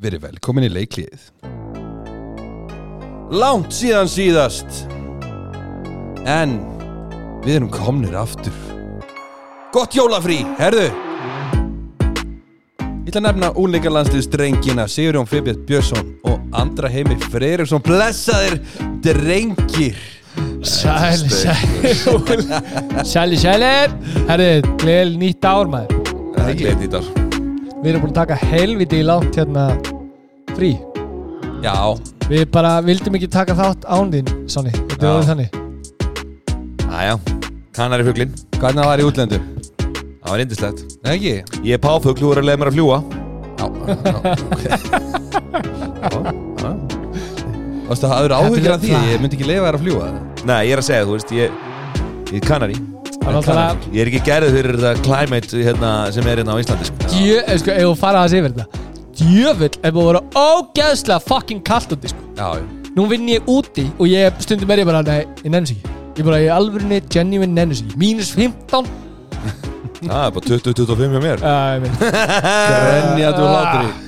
Verið velkomin í leikliðið. Langt síðan síðast. En við erum komnir aftur. Gott jólafrí, herðu. Ég ætla að nefna úlingarlandsliðs drengina Sigurjón Fibjart Björnsson og Andra Heimi Freyriksson. Blessaðir drengir. Sæl, sæl Sæli, sælir Herrið, gleðil nýtt ár maður Það er gleðið í dag. Við erum búin að taka helviti í langt hérna frí Já, Við bara vildum ekki taka þátt án þín Sonni, þetta er Já. orðið þannig Æja, kannari fugglin, hvernig það var í útlöndum? það var indislegt Nei ekki? Ég er páfugl, þú er að leið mér að fljúa Já, já, ok. Varstu að aðra Þetta áhyggjur er af því? flag. Ég myndi ekki leifa þær að fljúa Nei, ég er að segja, þú veist, ég, ég er kannari Það er náttúrulega Ég er ekki gerðið fyrir þetta climate hérna, sem er hérna á Íslandi sko. Djö, eh, sko, ef þú farað að segja verið þetta Djöfull, ef þú voru ógeðslega fucking kallt úti sko. Já, já. Nú vinn ég úti og ég stundum er ég bara Nei, ég nennis ekki Ég bara, ég alvörinni, genuine nennis ekki Mínus 15 uh, Það er bara 20-25 hjá mér ég meina. Grenjandi og hlátri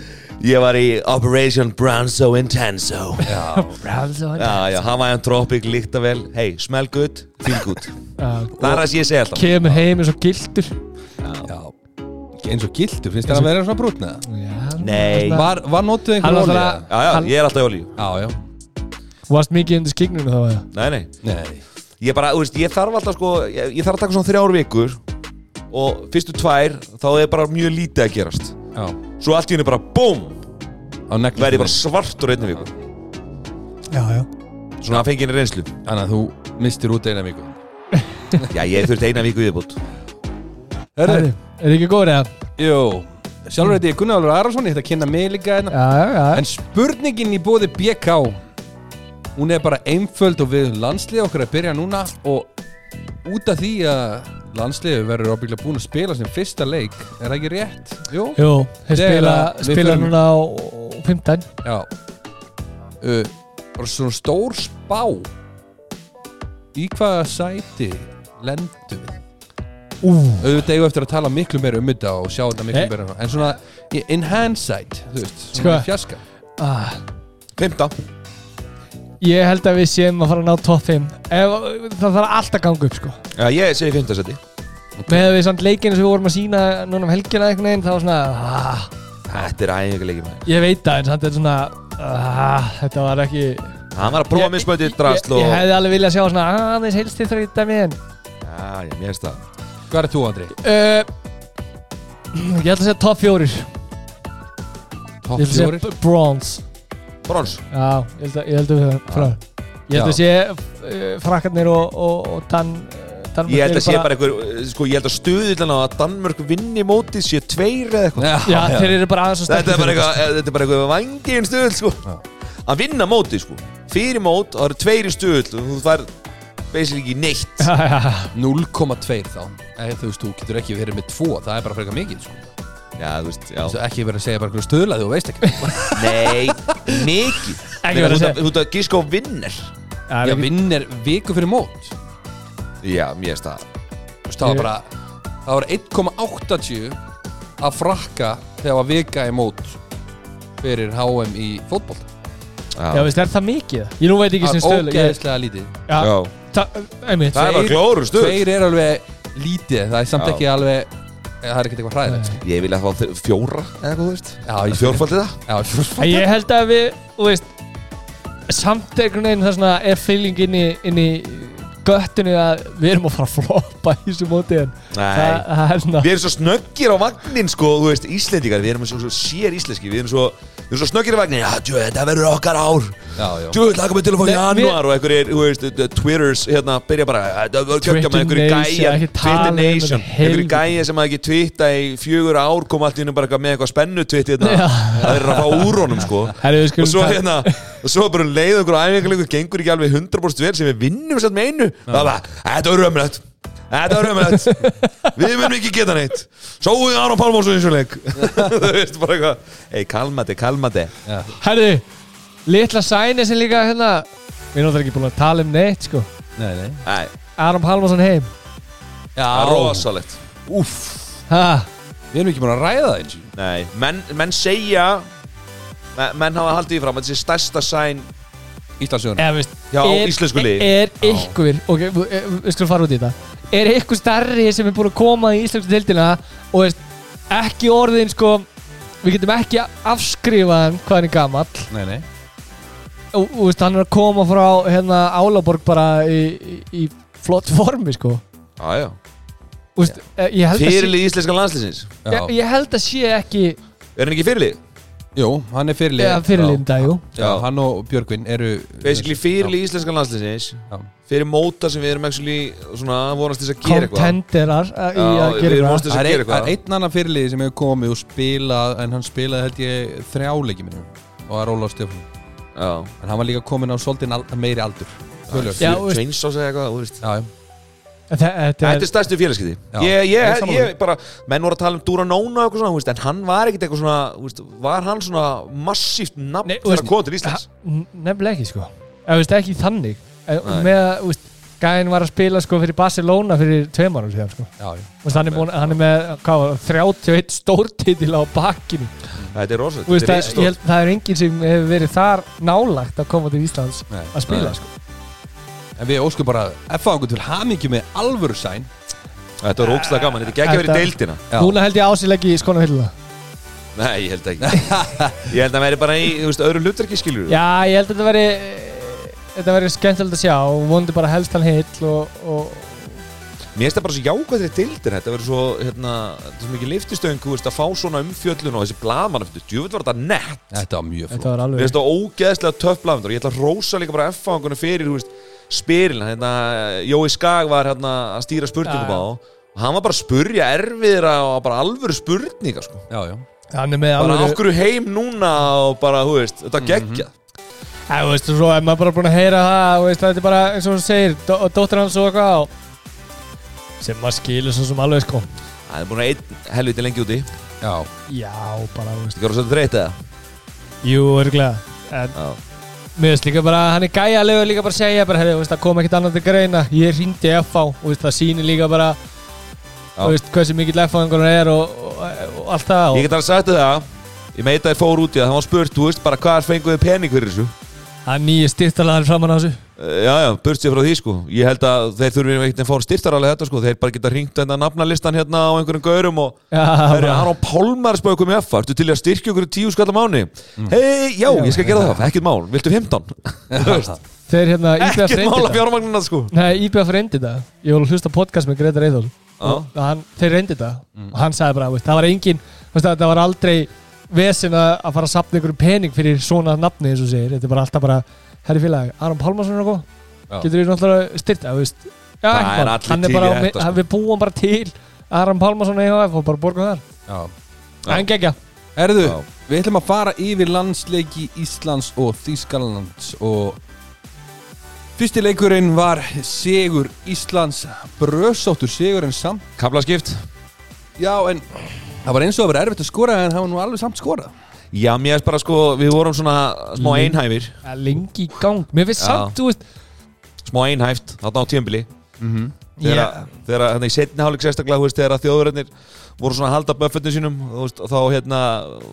Ég var í Operation Branso Intenso Bravo. Já, já, Hawaiian Tropic líkta vel Hey, smell good, feel good Já, Það er það sem ég segi alltaf Kemur heim eins og gildur Já Ekki Eins og gildur, finnst þér að vera svona brútna? Nei, já, Var, var notuð Hann einhver var olíða? það já, ég er alltaf í olíu Já, já Varst mikið undir skignunum þá eða? Nei, nei Nei Ég bara, þú veist, ég þarf alltaf sko Ég, ég þarf að taka svona þrjár vikur Og fyrstu tvær, þá er bara mjög lítið að gerast Já Svo allt í henni bara, búm Á neglum Verði ég bara svartur einni viku Já, já Svona að fengi henni reynslu Þannig að þú mistir út eina viku Já, ég þurfti eina viku viðbútt Er Herru þið ekki góður eða? Jú Sjálfur heiti ég Gunnar Gunnar Arason Ég ætla að kynna mig líka hérna Já, já, já En spurningin í bóði BK Hún er bara einföld og við höfum landslið okkar að byrja núna Og út af því að landsliðu verður ábygglega búin að spila sem fyrsta leik Er það ekki rétt? Jú Jú, þeir Þegar spila, að við spila förum- núna á 15 Já uh, Bara svona stór spá Í hvaða sæti lendum við? Ú, Auðvitað eigum við eftir að tala miklu meira um þetta og sjá þetta miklu Nei. meira En svona í- in hindsight, þú veist, Eh? Sko. svona í fjaska ah, 15 Ég held að við séum að fara að ná top 5 Ef, Það þarf allt að ganga upp sko Já, ég segi 15 seti Með að við samt leikinu sem við vorum að sína núna um helgina einhvern veginn Það var svona ah, Þetta er æfingar leikir maður Ég veit það en samt þetta er svona ah, Þetta var ekki Hann var að prófa mér spöndið drasl ég, og ég Já, hefði alveg viljað sjá svona aðeins helst þér þrjóta minn já, mér finnst það Hvað er þú, Andri? uh, Ég ætla að segja top 4 Ég Top ætla 4? að segja b- bronze Brons Já, ég held að, ég held að við höfum frá Ég held að sé uh, frakkarnir og, og, og eh, Dan, Dan Ég held að sé bara einhver uh, Sko, ég held að stuðillan á að Danmörk vinni mótið sé tveir eða eitthvað Já, þeir eru bara aðeins og Þetta er bara eitthvað eh, Þetta er bara eitthvað vangiðin stuðil, sko Að vinna mótið, sko Fyrir mót, það eru tveir í stuðil og Þú fær basically ekki neitt eitthvað 0,2 þá Eða, Þú veist, þú getur ekki verið með 2 Það er bara frekar mikið, sko Já, þú veist, já Þú veist, ekki verið að segja bara einhverju stöðlaði og veist ekki Nei, mikið Ekki Meina, verið að Þú ert segja. að- þú ert að gíska á vinnar Já, vinnir viku fyrir mót Þú Já, mér finnst það veist, það var Ég- bara Það var 1,80 að frakka þegar var vika í mót fyrir HM í fótbolta Já, veist, er það mikið? Ég nú veit ekki Það sem er stöðlega ég- ógeðslega lítið Já, það, einmitt Það er bara Tveir- glóru stuð Tveir er alveg lítið Það er samt Já. ekki alveg Það er ekki eitthvað hræðilegt sko. Ég vil að fá þau- fjóra eða hvað þú veist Já, ég Fjórfaldið það Já, fjórfald En ég held að við, þú veist Samt einhvern veginn það svona er feeling inn í, inn í göttinu að við erum að fara að floppa í þessu móti en það, Nei það er svona Við erum svo snöggir á vagnin sko, þú veist, Íslendingar, við erum svo, svo sér íslenski, við erum svo, við erum svo snöggir á vagnin, já, djú, þetta verður okkar ár, Já, já djú, lakum við til að fá Nei, januar og einhverjir, þú veist, uh, Twitters, hérna, byrja bara, uh, það verður kjökja með Twitter einhverjir Nation, gæja, ekki tala um þetta, Nation, einhverjir helviti. gæja sem að ekki twitta í fjögur ár, koma allt í hennu bara eitthvað með eitthvað spennu twitt, hérna, Já. það verður að fá úr honum, sko. Herri, við og skulum svo taka- hérna og svo bara leið okkur æfingarleikur gengur ekki alveg 100% vel sem við vinnum satt með einu það var bara, þetta var ömulegt þetta var ömulegt við munum ekki geta neitt sóðu þið Aron Pálmónsson eins og leik þú veist bara eitthvað ei kalmati, kalmati Herðu, litla sæni sem líka hérna Við erum náttúrulega ekki búin að tala um neitt sko Nei, nei Nei, Aron Pálmarsson heim Já, það er rosalegt Úff ha, Við erum ekki búin að ræða það eins og Nei, menn, menn segja Men- menn hafa haldið í fram að þessi stærsta sæn Íslandsjöðun Eða, veist, Já, íslensku liði. Er ykkur, ok, við- eh, við skulum fara út í þetta Er ykkur starri sem er búin að koma í íslensku dildina og veist, ekki orðin sko Við getum ekki afskrifaðan hvað hann er gamall Nei, nei og, og veist, hann er að koma frá hérna Álaborg bara í, í, í flott formi sko já, já. Þú veist, eh, ég, held að sé, fyrirlið íslenska landslýsins ég, Já. ég held að sé ekki er hann ekki fyrirlið? Jú, hann er fyrirlið eða fyrirlinda, jú Já, hann og Björgvin eru basically fyrirlið íslenska landslýsins Já. fyrir móta sem við erum actually svona vonast til þess að gera eitthvað contenderar eh, í Já, að við gera erum vonast eitthvað Það til þess að er, gera ein, það er eitthvað einn annan fyrirlið sem hefur komið og spilað en hann spilaði held ég þrjáleiki minnum og það er Ólaf Stefán Já. en hann var líka komin á svolítið al, meiri aldur Tölur Já, Já, veist- Chainsaw segja eitthvað, þú veist já, En þe- Þetta Þetta er er stærstu félagskipti Já. ég, ég, Ég er ég, sammála því. bara, menn voru að tala um Dúra Nóna og eitthvað svona, þú veist, en hann var ekkert eitthvað svona þú veist, var hann svona massíft nafn Nei, þú þegar veist- hann kom til Íslands N- nefnilega ekki sko eða veist ekki þannig eða, Nei. með að veist, gæðin var að spila sko fyrir Barcelona fyrir tveim árum síðan sko já, já. veist, hann, er búin, hann er með hvað, var það, 31 stórtitil á bakkinu Þetta er rosa, veist, þetta er að, risastórt. ég held, það er enginn sem hefur verið þar nálagt að koma til Íslands Nei. að spila Nei. sko En við óskum bara F.A. okkur til hamingju með alvöru sæn Þetta var ógstlega gaman, þetta geggja verið Þetta- deildina Já. núna held ég ásilegi í skona hyllu Nei, ég held ekki Ég held að hann væri bara í, þú veist, öðru hlutverki skilur já ég held að þetta veri þetta veri skemmtilegt að sjá og vondi bara helst hann hyll og, og Mér finnst það bara svo jákvæð þeirri deildir Þetta verður svo, hérna, þetta er svo mikið liftistöng Þú veist, að fá svona umfjöllun og þessi blaðmann Djúvill var þetta nett Þetta var mjög flott þetta var Mér alveg finnst það ógeðslega töff blaðmann Og ég ætla að rósa líka bara F-fanguna fyrir, þú veist, spyrilina hérna, Jói Skag var hérna að stýra spurningum Já, á já. Og hann var bara að spurja erfiðra og bara alvöru spurninga, sko Já, já hann er með Bara af alveg hverju heim núna og bara, þú veist, Mhm. þetta geggja Já, þú veist, og svo er maður bara búin að heyra það, þú veist, þetta er bara eins og hún segir, dó- og dóttir hans og eitthvað og sem maður skilur svo sem alveg, sko. Það er búin að einn helviti lengi úti Þetta Já, Já, bara, þú veist. er svolítið þreytt eða? Jú, örglega. En Já. mér veist líka bara, hann er gæjalega líka bara að segja, bara, herri, þú veist, það kom ekkert annað til greina, ég ringdi FH, þú veist, það sýnir líka bara, Já. þú veist, hversu mikill FH-engurinn er og, og, og allt það. Ég Og get alveg sagt þér það Ég meita þér fór út í það, það var spurt, þú veist, bara hvar fenguðu pening fyrir þessu hann nýja styrtalaðan framann á þessu. Eh, Já, já, burt sér frá því sko Ég held að þeir þurfi ekkert að fá styrtaralega þetta sko Þeir bara geta hringt þetta nafnalistan hérna á einhverjum gaurum og Já, Það eru bara- Aron Pálmar spáðu komið effa Ertu til í að styrkja okkur í tíu skall á mánu? Hei, Mm. já, ég skal gera það, ekkert mál, viltu 15? þeir hérna, IBF ekkert mál að reyndi það. fjármagnina sko Nei, IBF reyndi það. Ég voru að hlusta á podcast með Greta Reyðól. Já, Mm. og hann, þeir reyndi þetta og hann sagði bara, veist, það var engin veist, það var aldrei vesen að að fara að sapna einhverjum pening fyrir svona nafni eins og þú segir, þetta er bara alltaf bara herri félag, Aron Pálmarsson er Já. að koma getur við náttúrulega styrta, þú veist já, Það ekkert er mál. allir hann til er bara, í þetta, þetta, sko. við búum bara til Aron Pálmarsson EHF og bara borgum þar já Já. en gegja, Erðu, Já. við ætlum að fara yfir landsleiki Íslands og Þýskalands og fyrsti leikurinn var sigur Íslands brösóttur sigur en samt Kaflaskipt Já, en það var eins og það var erfitt að skora en það var nú alveg samt skorað Já, mér er bara sko, við vorum svona smá Lin- einhæfir Ja, lengi í gang mér finnst Já. samt, þú veist Smá einhæft, þarna á tímbili þegar já, yeah. þannig í setni hálfleik sérstaklega þú veist, þegar að þjóðverðinir voru svona að halda buffetnum sínum þú veist, þá hérna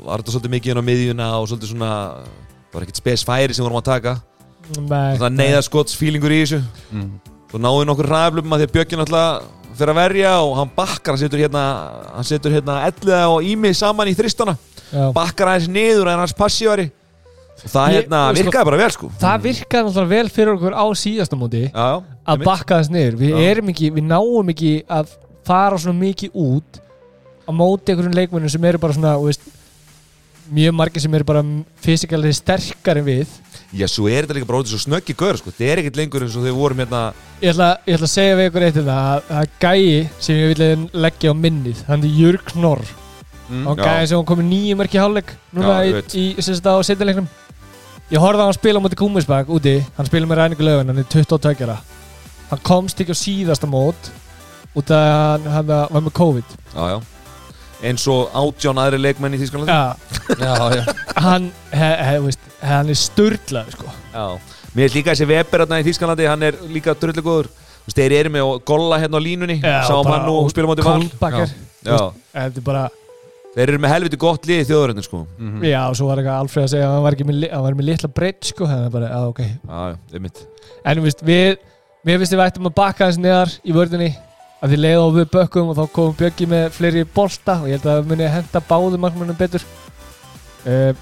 var þetta svolítið mikið inn á miðjuna og svolítið svona það var ekkert spes færi sem vorum að taka nei, svona neyðaskots fílingur í þessu Mhm. þú náðu nokkur ræðflöfum að því að Björkin alltaf fyrir að verja og hann bakkar hann setur hérna, hann setur hérna elliða og ími saman í þristana já. bakkar aðeins niður en hans passívari og það Ég- hérna þú veist, virkaði bara vel sko það virkaði náttúrulega vel fyrir okkur á síðasta móti já, já, að einmitt. bakka þess niður við, Já. erum ekki, við náum ekki að fara svona mikið út á móti einhverjum leikmennum sem eru bara svona þú veist, mjög margir sem eru bara fysikalið sterkar en við já, svo er þetta líka bara út svo snöggi gör sko, það er ekkert lengur eins og þau vorum hérna ég ætla, ég ætla að segja við ykkur eitt til það að- að gæi sem ég vil leggja á minnið hann er Jörg Knorr Mm, hann Mhm. já. gæi sem hann komið nýjum ekki hálfleik núna Já, ég í, veit. í, sem sagt á setjaleiknum ég horfði að hann spila á móti Kúmisbæk úti hann spila með ræningu lögun, hann er 22 ára. hann komst ekki á síðasta mót út af að hann, hann var með COVID já, já. eins og átján aðri leikmenn í Þísklandi Já, Já, já hann, he, he, veist, hann er störtlað sko. mér er líka þessi Weber hérna í Þísklandi hann er líka drullu góður Þú veist, þeir eru með og golla hérna á línunni Já, sáum bara- hann og spila móti val Kólbakkar já, Þetta er bara Þeir Þeir eru með helviti gott lið í þjóðuröndin sko Já, og svo var eitthvað Alfred að segja að hann var, ekki með, li- hann var með litla breytt sko, þannig að bara, að ok Já, já, einmitt En við, við, mér finnst við ættum að bakka hans neðar í vörðinni að því leið og við bökkum og þá komum Bjöggi með fleiri bolta og ég held að það muni henda báðum markmannum betur uh,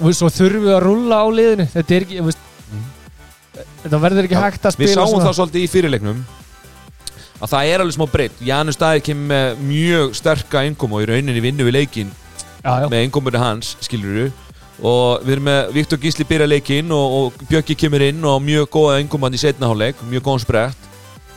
og við svo þurfum við að rulla á liðinu þetta er ekki, þú veist Mhm. þetta verður ekki Já, hægt að Við spila sáum það svolítið í fyrirleiknum að það er alveg smá breytt Janus Dæði kemur með mjög sterka engum og í rauninni vinnu við leikin já, já, með engumurinn hans, skilur og við erum með Viktor Gísli byrja leikinn og, og Bjöggi kemur inn og mjög góða engumann í setnaháleik, mjög góðan sprett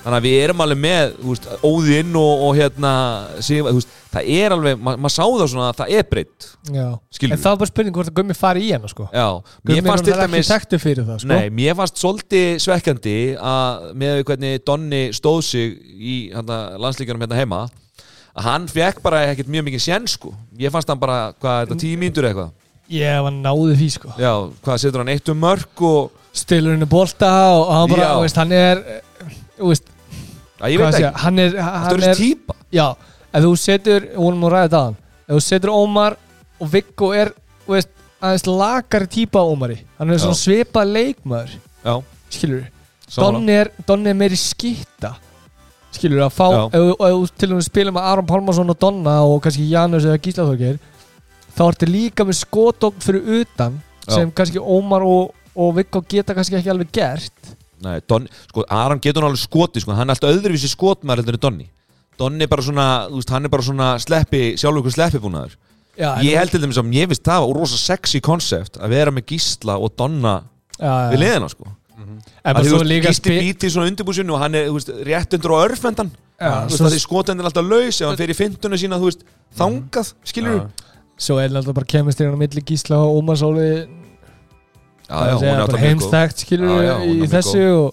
þannig að við erum alveg með þú veist, óðinn og, og hérna Sifa, þú veist, það er alveg, ma maður sá það svona að það er breytt, já. skilur en það var bara spurning hvort að Gummi fari í hana sko Já, Gummi mér fannst til er ekki dæmis þekktu fyrir það sko Nei, mér fannst svolítið svekkjandi að með við hvernig Donni stóð sig í hana, landslíkjunum hérna heima að hann fekk bara ekkert mjög mikið sjens sko. Ég fannst hann bara, hvað er þetta, tíu mínútur eða eitthvað ég var náði því sko Já, hvað setur hann eitt um mörg og stilur henni bolta og hann bara, Já. þú veist, hann er eh, þú veist, að ég veit hvað sé, ekki, hann er, þetta hann er er þessi típa Já, ef þú setur, við vorum að ræða þetta aðan Ef þú setur Ómar og Viggo er, þú veist, aðeins lakari típa af Ómari Hann er svona Já. svipað leikmaður, Já, skilur við sammála. Donni er, Donni er meiri skýta Skilur við að fá, Já. ef þú- ef þú til og með spila með Aron Pálmarsson og Donna og kannski Janus eða Gíslaþorgir Þá ertu líka með skotokn fyrir utan Já. sem kannski Ómar og, og Viggo geta kannski ekki alveg gert Nei, Donni, sko, Aron getur hann alveg skoti sko. hann er alltaf öðruvísi skotmaður heldur en Donni Donni er bara svona, þú veist, hann er bara svona sleppi, sjálfur ykkur sleppibúnaður Já, Ég held til þeim sem, ég finnst það og rosa sexy konsept að vera með Gísla og Donna við já, já. liðina sko Mhm. En Að bara þú svo veist, líka Gísli spi- býti í svona undirbúsinu og hann er þú veist, rétt undir á örfendan Já, Þú svo- veist, skotendin er alltaf laus ef hann fer í fyndunum sína þú veist, þangað, skilur Já. Svo er alltaf bara kemistrinn á milli Gísla og Ómar Sóli Já, já, hún er alltaf mjög góð heimstækt skilur Já, já, já, hún er í mjög þessu og...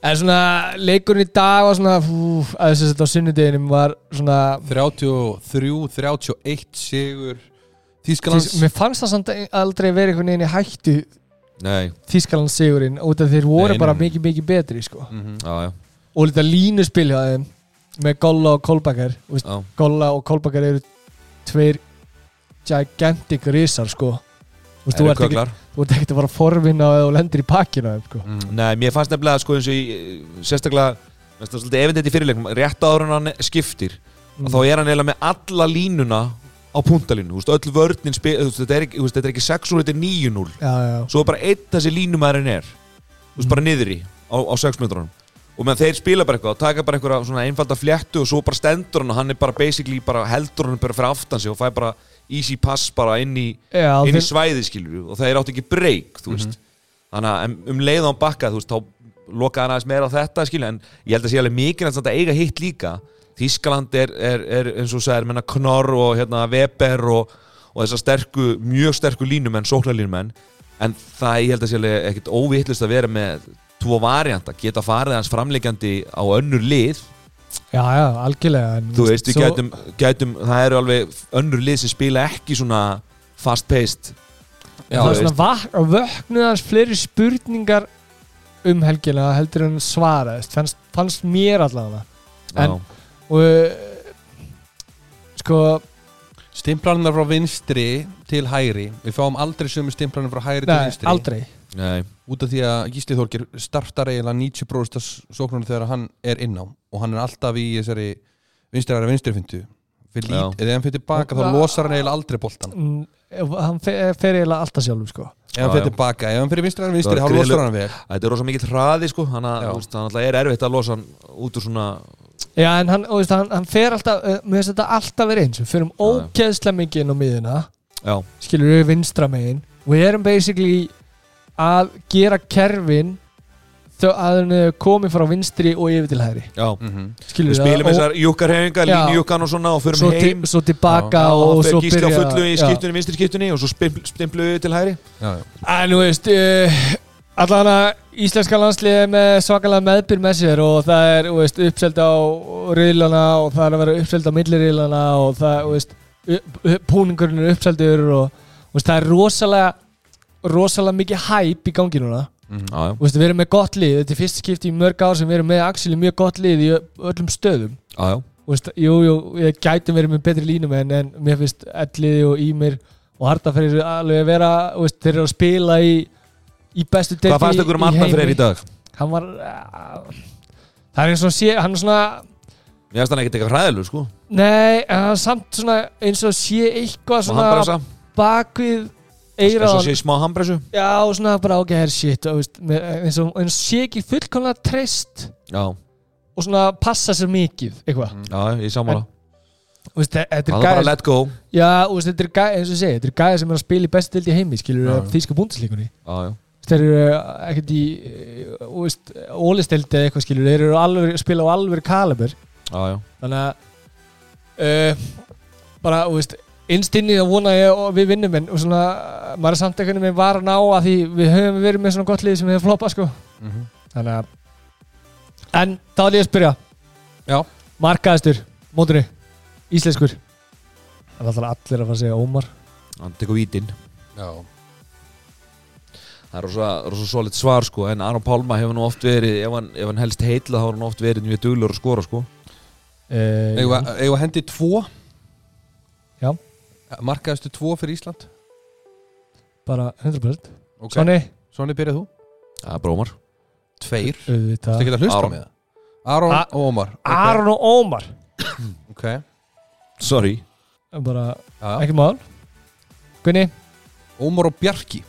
En svona leikurinn í dag var svona fú, að þess að þetta á sunnudeginum var svona 33, 31 sigur Þískalands Mér fannst það samt aldrei verið einhvern veginn í hættu Nei, Þískaland sigurinn út af þeir voru Nei, nei, bara nei. mikið mikið betri sko Mhm. já, já, og líka línuspil hjá þeim með Golla og Kolbakar Vist, já Golla og Kolbakar eru tveir gigantic risar sko Vist, Eru þú, ert ekki, köglar. þú ert ekki að fara að forvinna og lendir í pakkinu á þeim sko Nei, mér fannst nefnilega sko eins og í eh, sérstaklega mér fannst það svolítið efindið í fyrirleikum rétt áður en hann skiptir Mm. og þá er hann eiginlega með alla línuna á puntalínu, þú veist, öll vörnin spi, þú veist, þetta, er ekki, þú veist, þetta er ekki 6-0, þetta er 9-0 Já, já, já svo er bara einn þessi línumæðurinn er þú veist bara niðri á, á 6 metrunum og meðan þeir spila bara eitthvað og taka bara einhverja svona einfalda fléttu og svo bara stendur hann og hann er bara basically bara heldur hann bara fyrir aftan sig og fæ bara easy pass bara inn í, Já, inn í þeir- svæði skilur og það er átt ekki break þú veist þannig að em- um leið á hann bakka þú veist þá lokaði hann aðeins meira á þetta skilur en ég held að sé alveg mikilvægt samt að eiga hitt líka Þískaland er, er, er eins og sagði menna Knorr og hérna Weber og, og þessar sterku, mjög sterku línumenn sóknarlínumenn en það ég held að sé alveg ekkert óvittlust að vera með tvo varianta, geta farið hans framleikjandi á önnur lið Já, já, algjörlega en þú veist, við svo- gætum, gætum það eru alveg önnur lið sem spila ekki svona fast-paced Já, Það þú er svona vak- vöknuð hans fleiri spurningar um helgina heldur en svaraðist fannst, fannst mér allavega en- Já. og eh, sko Stimplanar frá vinstri til hægri Við fáum aldrei sömu stimplanar frá hægri til nei, vinstri aldrei Nei, Út af því að Gísli Þorgir startar eiginlega 90% sóknarnar þegar hann er inná og hann er alltaf í þessari vinstri hægri vinstri fyndu Við Já. lít, eða hann fyrir baka þá losar hann eiginlega aldrei boltan Mm, hann fe- fer eiginlega alltaf sjálfur sko Ef hann Já, fyrir já. tilbaka, ef hann fyrir vinstri hægri Það vinstri var þá gríðarleg- losar hann vel þetta er rosa mikill hraði sko þannig að Já. þú veist, þannig að er erfitt að losa hann út úr svona já en hann, og veist, hann, hann fer alltaf eh, mér finnst þetta alltaf verið eins við fyrir um Já, já. ógeðslega mikið inn á miðuna Já, skilur við vinstra megin við erum basically að gera kerfin þau að hann komi frá vinstri og yfir til hæri já Mhm. skilur Við við spilum og- þessar jukkarhefingar, Já. línjukkan og svona og förum svo, heim til, svo tilbaka Já, og það fer svo gísli á byrja fullu í já. skiptunni, vinstri skiptunni og svo spimpl- stimplu við til hæri Já, já. en þú veist uh, allan að íslenska landsliði er með svakalega meðbyr með sér og það er þú veist, uppselt á riðlana og það er að vera uppselt á milliriðlana og það þú veist, upp, upp, púningurinn er uppseltur og þú veist, það er rosalega rosalega mikið hæp í gangi núna Já, já, Þú veist, við erum með gott lið, þetta er fyrst skipti í mörg ár sem við erum með Axel í mjög gott lið í ö- öllum stöðum já, já Þú veist, jú, jú, ég gætum verið með betri línum en, en mér finnst Elliði og Ímir og Hartafreyr alveg að vera þú veist, þeir eru að spila í, í bestu deildi Hvað fannst ykkur um Arnar Freyr í dag? Hann var uh, það er eins og sé, hann er svona Mér finnst hann ekkert eitthvað hræðilu sko nei, hann er samt svona eins og sé eitthvað Svona handbremsa svona bakvið Eins eira á og hann sé smá handbremsu já, og svona bara ok, her shit þú veist, með- eins og, eins og sé ekki fullkomlega treyst Já, og svona passa sér mikið eitthvað, já, ég sammála Þú veist, þe- þetta er Hann var Mm. bara gæðis að let go Já, og þú veist, þetta er gæði, eins og ég segi, þetta er gæði sem er að spila í bestu dildi heimi, skilur Já, við, já. þýska búndslíkunni. Já, já Þeir eru eh, ekkert í, eh, þú veist, ólistildi eða eitthvað, skilur þeir eru alveg, spila á alveg kalibur. Já, já, Þannig að, uh, bara, þú veist, innstinni þá vona ég og við vinnum, en og svona, maður er samt eitthvað með var að ná að því við höfum verið með svona gott lið sem hefur floppað, sko. Mhm. Þannig að, en þá vil ég að spyrja. Já. Markaðistur, mótunni, íslenskur. Það er alltaf allir að fara að segja Ómar. hann tekur vítinn Já, Það er rosa, rosa solid svar sko En Aron Pálma hefur nú oft verið Ef hann, ef hann helst heitla þá hefur hann oft verið mjög duglur að skora sko Uh, eigum við- eigum við að hendi tvo Já. Markaðistu tvo fyrir Ísland bara 100% okay. Svani, Svonni byrjað þú Það er brómar Tveir Það auðvitað ekki að hlusta Aron. með það Aron A- og Ómar Ok, Aron og Ómar Ok Sorry bara Já, já. ekki mál Gunni, Ómar og Bjarki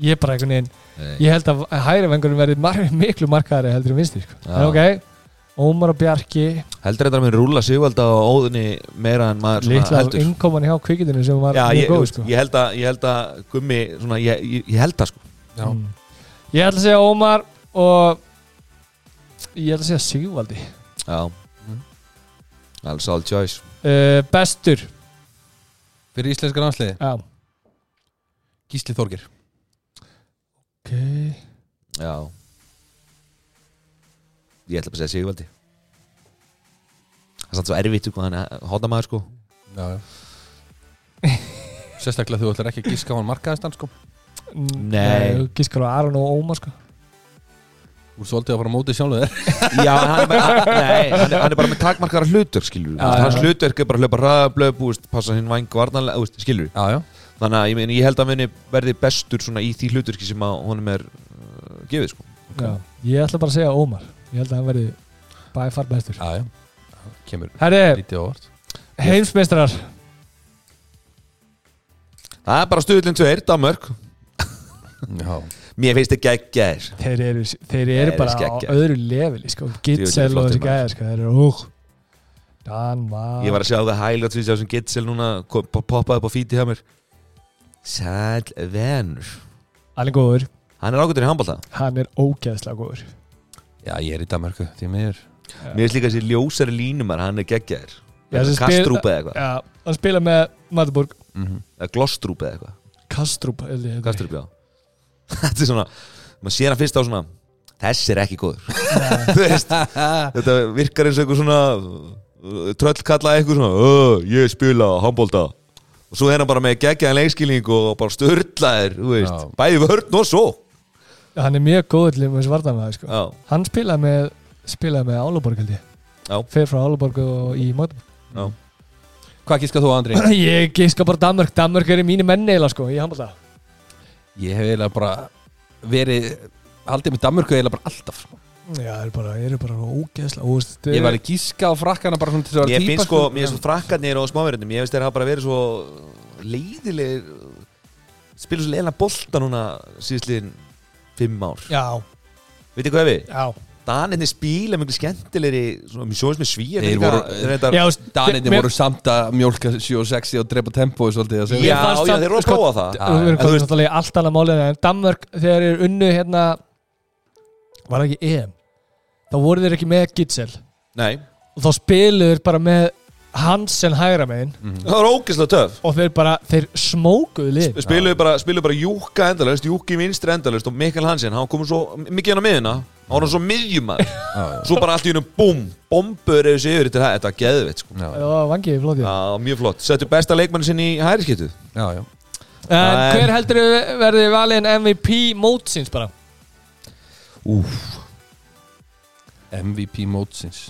ég er bara einhvern veginn Nei. ég held að hægri vengurinn verði mar miklu markaðari heldur en vinstri sko. Já. en ok, Ómar og Bjarki Heldur þetta að minn rúla Sigvalda og óðinni meira en maður svona litla heldur innkoman hjá kvikindinu sem var Já, mjög ég, góð sko. ég, held að, ég held að Gummi, svona, ég, ég, ég held að sko Já, Mm. ég ætla að segja Ómar og ég ætla að segja Sigvaldi Já Mhm. Mm. Alls all choice uh, bestur fyrir íslenska landsliði Já. Gísli Þorgir ok, Já Ég ætla bara að segja Sigvaldi Það er samt svo erfitt sko, hann er hóndamaður sko Já, já Sérstaklega þú ætlar ekki að gíska á hann markaðist hann sko Nei. Mm, gískar á Aron og Ómar sko. Þú er svolítið að fara á móti sjálfur þér Já, en hann er bara, nei, hann er, hann er bara með takmarkara hlutverk skilur Já, já. Hans hlutverk er bara að hlaupa hraðablöp passa hinn væng varnalega úst, skilur Já, já Þannig að ég, meina, ég held að muni verði bestur svona í því hlutverki sem að honum er uh, gefið sko Já, ég ætla bara að segja Ómar Ég held að hann verði by far bestur Já, já Það Kemur Herri, lítið á orð heimsmeistrar Það er bara stuðlinn tveir, Danmörk Já Mér finnst ekki að gæðir Þeir eru, þeir eru eru bara skeggjaðir. á öðru leveli sko. Gitzel Djöfull og eru þessi flottir, maður. gæðir sko. Þeir eru úh Danmark Ég var að sjá það hæglega því sem Gitzel núna kom- po- poppaði upp á fíti hjá mér Sæl venur Hann er góður, Hann er ágættur í handbólta hann er ógeðslega góður Já, ég er í Danmarku Því miður Mér finnst líka þessi ljósari línumar, hann er geggjaður Já, þessi spil- Kastrúpa eða eitthvað Já, hann spila með Magdeburg Mhm. Eða Glostrúpa eða eitthvað Kastrup held ég heitir. Kastrúpa, já Þetta er svona, maður sér hann fyrst á svona Þessi er ekki góður Þú veist, Þetta virkar eins og eitthvað svona uh, Tröll kallaði eitthvað svona "Ö, Ég spila handbólta Og svo er hann bara með geggjaðan leikskilning og bara störlaðir, þú veist, Já. bæði vörn og svo. Hann er mjög góður til þessi vartamæði sko. Já, Hann spilaði með, spilaði með Áluborg held ég Já. Fer frá Áluborg og í Magdeburg já. Hvað gíska þú, Andri? Ég gíska bara Danmark Danmark er í mínu menni eða sko, í handbólta Ég hef eiginlega bara verið Haldið með Danmarku eiginlega bara alltaf sko. Já, þeir eru bara, þeir eru bara ógeðslega eh, óst, Ég var að gíska á frakkana bara svona til þess að Ég vera finnst týpa, sko, mér finnst frakkarnir og smáverðinum Ég finnst þeir hafa bara verið svo leiðilegir Spilur svo leiðilega bolta núna síðustliðin fimm ár Já, Veitir hvað er við? já Daninni spíla miklu skemmtilegri Svona mjög sjóðis með svíja Þeir voru- reyndar, Já, já, veist, Daninni mér- voru samt að mjólka 7.60 og drepa tempói svolítið að já, segja. Mér fannst já, samt- þeir eru að sko- prófa það Við Já, erum en þú komið veist- náttúrulega í allt annað málið En Danmörk, þegar þeir unnu hérna Var það ekki EM Þá voru þeir ekki með Gitzel Nei, Og þá spiluðu þeir bara með Hansen hægra megin Mhm. það var ógeðslega töf Og þeir bara, þeir smókuðu lið Spiluðu bara, spiluðu bara Júka endalaust Júki vinstri endalaust og Mikael Hansen Hann komur svo mikið hann á miðuna Hann var svo miðjumar já, Svo bara allt í unum búm Bombur eða séu yfir til það Þetta var geðveitt sko já, já, Það var vangiði flótið Já, mjög flott Settu besta leikmann sinn í hæriskittu já, já. En En- hver heldur verði valin MVP mótsins bara? Úf MVP mótsins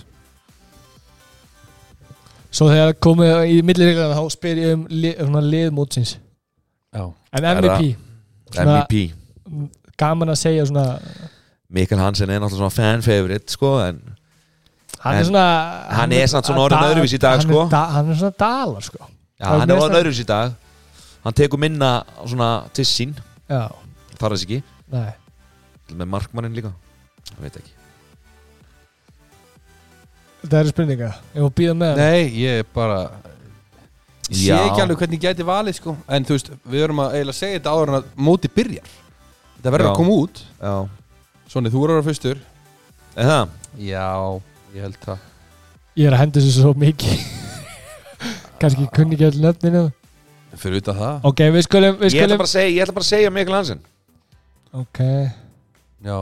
Svo þegar komið í millireglana þá spyr ég um, li, um svona lið mótsins Já, En Er MVP, Svona- MVP gaman að segja svona Mikael Hansen er náttúrulega svona fan favorite sko, en Hann En er svona hann er samt svona að- orðinn dal- öðruvísi í dag, hann er sko. da, Hann er svona dalar sko já, Það er hann er mest orðin að- öðruvísi í dag hann tekur minna svona til sín Já, þarf þess ekki, nei með markmannin líka ég veit ekki Það eru spurninga, ég má býða með nei, ég er bara ég sé Já. ekki alveg hvernig ég gæti valið sko en þú veist, við erum að eiginlega segja þetta áður en að móti byrjar þetta verður Já. að koma út já, Svonni, þú eru að vera fyrstur er það? Já, ég held það Ég er að henda þessu svo mikið Kannski kunni ekki öll nöfninu Fyrir utan það Ok, við skulum, við ég ætla skulum bara að segja, ég ætla bara að segja Mikael Hansen Ok, Já,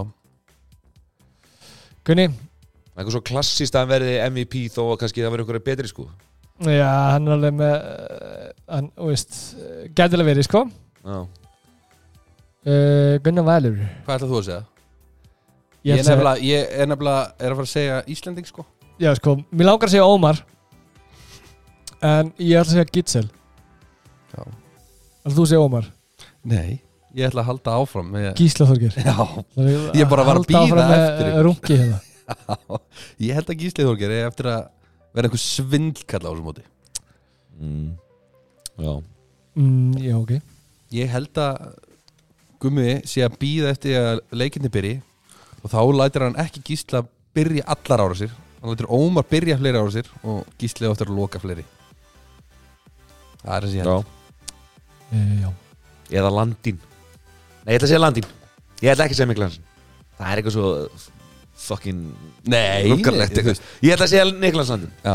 kunni eitthvað svo klassist að hann verði MVP þó að kannski það verði einhverja betri sko Já, hann er alveg með uh, Hann, þú veist, gætilega verið sko já, uh, Gunnar Valur hvað ætlað þú að segja? Ég Ég, er ætla að segja- nefnilega, ég er nefnilega, er að fara að segja Íslending sko Já, sko, mér langar að segja Ómar En ég ætla að segja Gitzel Já. Ætla þú að segja Ómar Nei Ég ætla að halda áfram með Gísla Þorgir Já, Ég Ég bara var að bíða eftir ykkur. Rungi hérna ég held að Gísli Þorger er eftir að vera einhver svindlkall á þessu móti mm. já. mm, Já, ok Ég held að Gummi sé að býða eftir að leikinni byrji og þá lætir hann ekki Gísla byrja allar ára sér hann lætir Ómar byrja fleiri ára sér og Gísli á eftir að loka fleiri Það er þessi já. hérna uh, Já eða Landín nei, ég ætla að segja Landín ég ætla ekki að segja Mikael Hansen það er eitthvað svo fucking Nei, ruggarlegt þú eitthvað. ég ætla að segja Niklas Landín Já,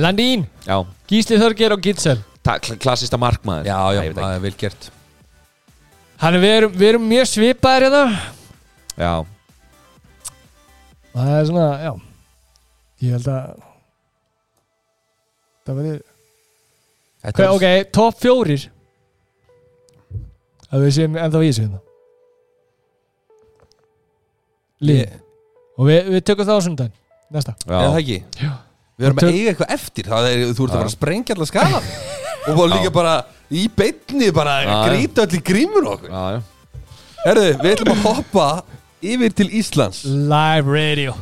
Landín, já, Gísli Þorgir og Gitzel Ta- kl- klassista markmaður já, já, Nei, ég veit það er vel gert Hann er, við erum, við erum mjög svipaðir hérna ekki. já, Og Það er svona, já Ég held að Það verði Þetta Hva, er- Ok, top fjórir Að við séum ennþá í þessu hérna Lið Ég- Og við, við tökum það á sundaginn Næsta já. Eða það ekki? Já. Við erum Tök- að eiga eitthvað eftir Það er, þú ert að Já. fara að sprengja allar skala Og bara líka Já. bara í beinni Bara Já, já. grýta öll í grímur okkur já, já. Herðu, við ætlum að hoppa yfir til Íslands Live radio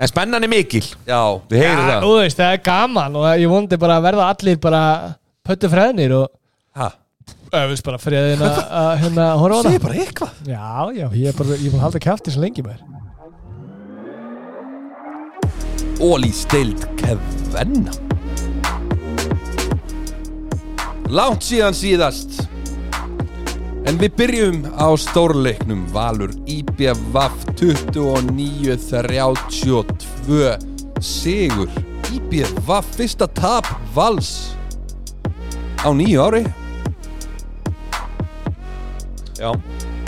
en spennan er mikil Já þið heyrið ja, það Þú veist, það er gaman og ég vondi bara að verða allir bara pöttu freðnir og ha, öfus bara freðin að að, hérna að horfa á Segir það bara eitthvað Já, já, ég er bara, ég er bara að halda kæfti svo lengi mér Ólís deild kevenna Langt síðan síðast En við byrjum á stórleiknum Valur IBVF 29-32 Sigur IBVF fyrsta tap Vals á nýju ári já.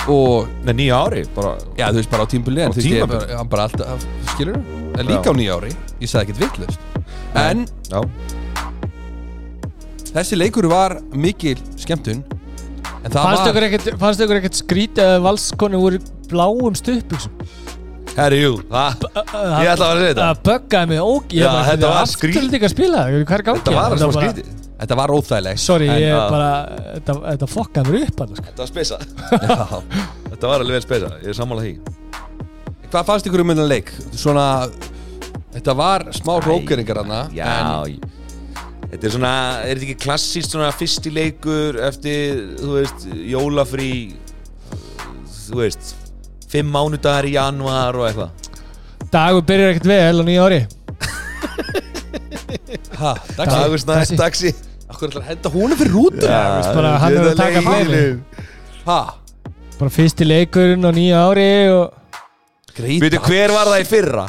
og með nýja ári bara, Já, þú veist bara á tímbili en þú Á veist ég tímabili? bara, hann bara alltaf, skilur En líka á nýja ári, ég sagði ekkert vittlust En já. þessi leikur var mikil skemmtun En það Fannst var ykkur ekkert, fannst ykkur ekkert skrítið að valskonu voru bláum stuðbuxum herri, jú, það ég ætla að vera að segja þetta Það böggaði mig óg Já, Ég bara, þetta var aftur skrít- vildi ekki að spila Hvað er gangi? þetta var Þetta svona bara- skrítið Þetta var óþægilegt Sorry, En- ég að- bara, þetta, þetta fokkaði mér upp alveg, sko. þetta var spesa Já. þetta var alveg vel spesa ég er sammála því Hvað fannst ykkur um hennan leik? Svona, þetta var smá rókeringar hana já ég- þetta er svona er þetta ekki klassist svona fyrsti leikur eftir þú veist jólafrí þú veist fimm mánudagar í januar og eitthvað Dagur byrjar ekkert vel á nýja ári. Ha, dagsins dagur snæðist taxi Akkur ætlar að henda húnum fyrir rútur veist bara, hann er að taka ballið. Ha, Bara fyrsti leikurinn á nýja ári og... greita Veitu hver var það í fyrra?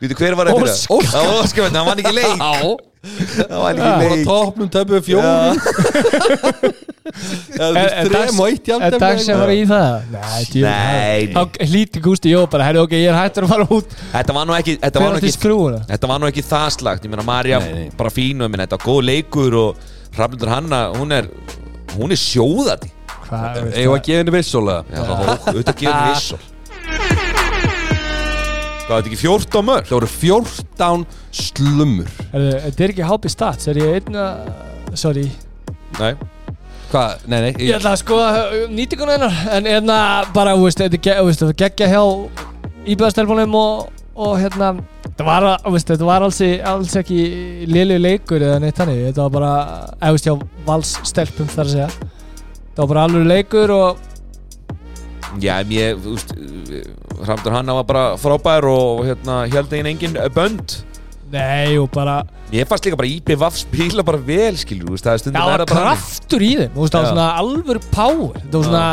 Veitu hver var það í fyrra? Óskar. Það var Óskar, menn, hann vann ekki leik Hann vann Búin ekki að leik topnum töpuðu fjórum Það er Er- er dags- þrem og eitt En dag sem var í það? Nei, djú, Nei. Þá hlíti Gústi Jó bara, herri, ok, ég er hættur að fara út Þetta var nú ekki Þetta var Fyrir nú átti ekki skrúuna Þetta var nú ekki það slagt Ég meina, Marja Nei, nei. bara fínu minn, Þetta var góð leikur og Hrafnundur Hanna, hún er hún er sjóðandi Hvað, veist Eða að gefa henni vissulega Já, þetta gefur viss Hvað, þetta ekki 14 mörg? Það voru 14 slumur Herðu, Þetta er ekki hápi stats, er ég einna Sorry Nei Hvað, nei, nei Ég ætla að skoða uh, nýtinguna hennar En hérna bara, þú veist, þetta er ge- þú veist, þetta geggja hjá Íbæðastelfunum og, og hérna Þetta var, þú veist, þetta var alls, í- alls ekki liðlegu leikur eða neitt þannig Þetta var bara, eða þú veist, hjá valsstelpum þar að segja Þetta var bara alveg leikur og Já, en ég, þú veist Hramdur Hanna var bara frábær og hérna held einn engin bönd Nei, og bara Ég fannst líka bara IPVAF spila bara vel, skilur, þú veist, það er stundum Það er var bara þannig. kraftur í þeim, þú veist, það var Já. svona alvöru power Það var svona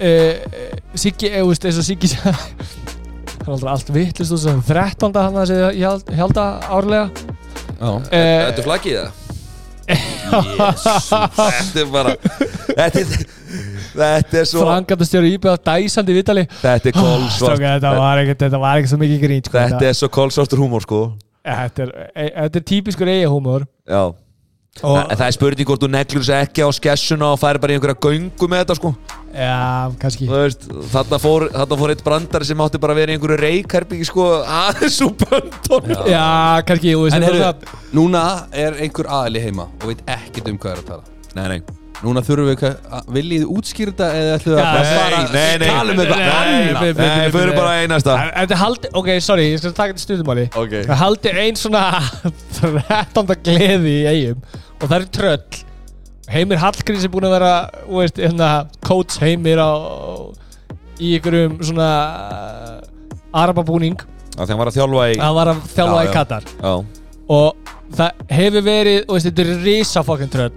uh, Siggi, eh, þú veist, eins og Siggi sagði- Það er aldrei allt vittlust þú veist, það er 13. hann að segja, ég held- held að árlega Já, Eh, Þetta er flaggið það? Jésus, þetta er bara Þetta er, þetta er svo Frangatastjóri Íbjöða dæsandi vitali Þetta er Stráka, kolsvart þetta var ekkert, þetta var ekkert svo mikið grín sko, Þetta er svo kolsvartur húmór, sko þetta, er, e, þetta er típiskur eigahúmur Já Og En það er spurning hvort þú neglur þessu ekki á skessuna og færi bara í einhverja göngu með þetta, sko Já, kannski Þú veist, þarna fór, þarna fór eitt brandar sem átti bara að vera í einhverju reikherbyggi, sko aðeins úr böndunum Já, kannski, þú veist En þetta heyrðu, var það- núna er einhver aðli heima og veit ekkert um hvað er að tala Nei, nei Núna þurfum við eitthvað, að- viljið þið útskýra þetta eða ætlum við Já, að bara nei, fara- nei, nei. tala um eitthvað Nei, annað nei, Nei, við erum bara einasta En Þetta haldi, ok, sorry, ég skal taka þetta stundumali Ok. Það haldi ein svona 13. gleði í eigum Og það er tröll Heimir Hallgríns er búin að vera, þú veist, hérna Coach Heimir á Í einhverjum svona eh, Arababúning Það var að þjálfa í Hann var að þjálfa Já, í já. Katar Já, og það hefur verið og veist, þetta er risa fokkin tröll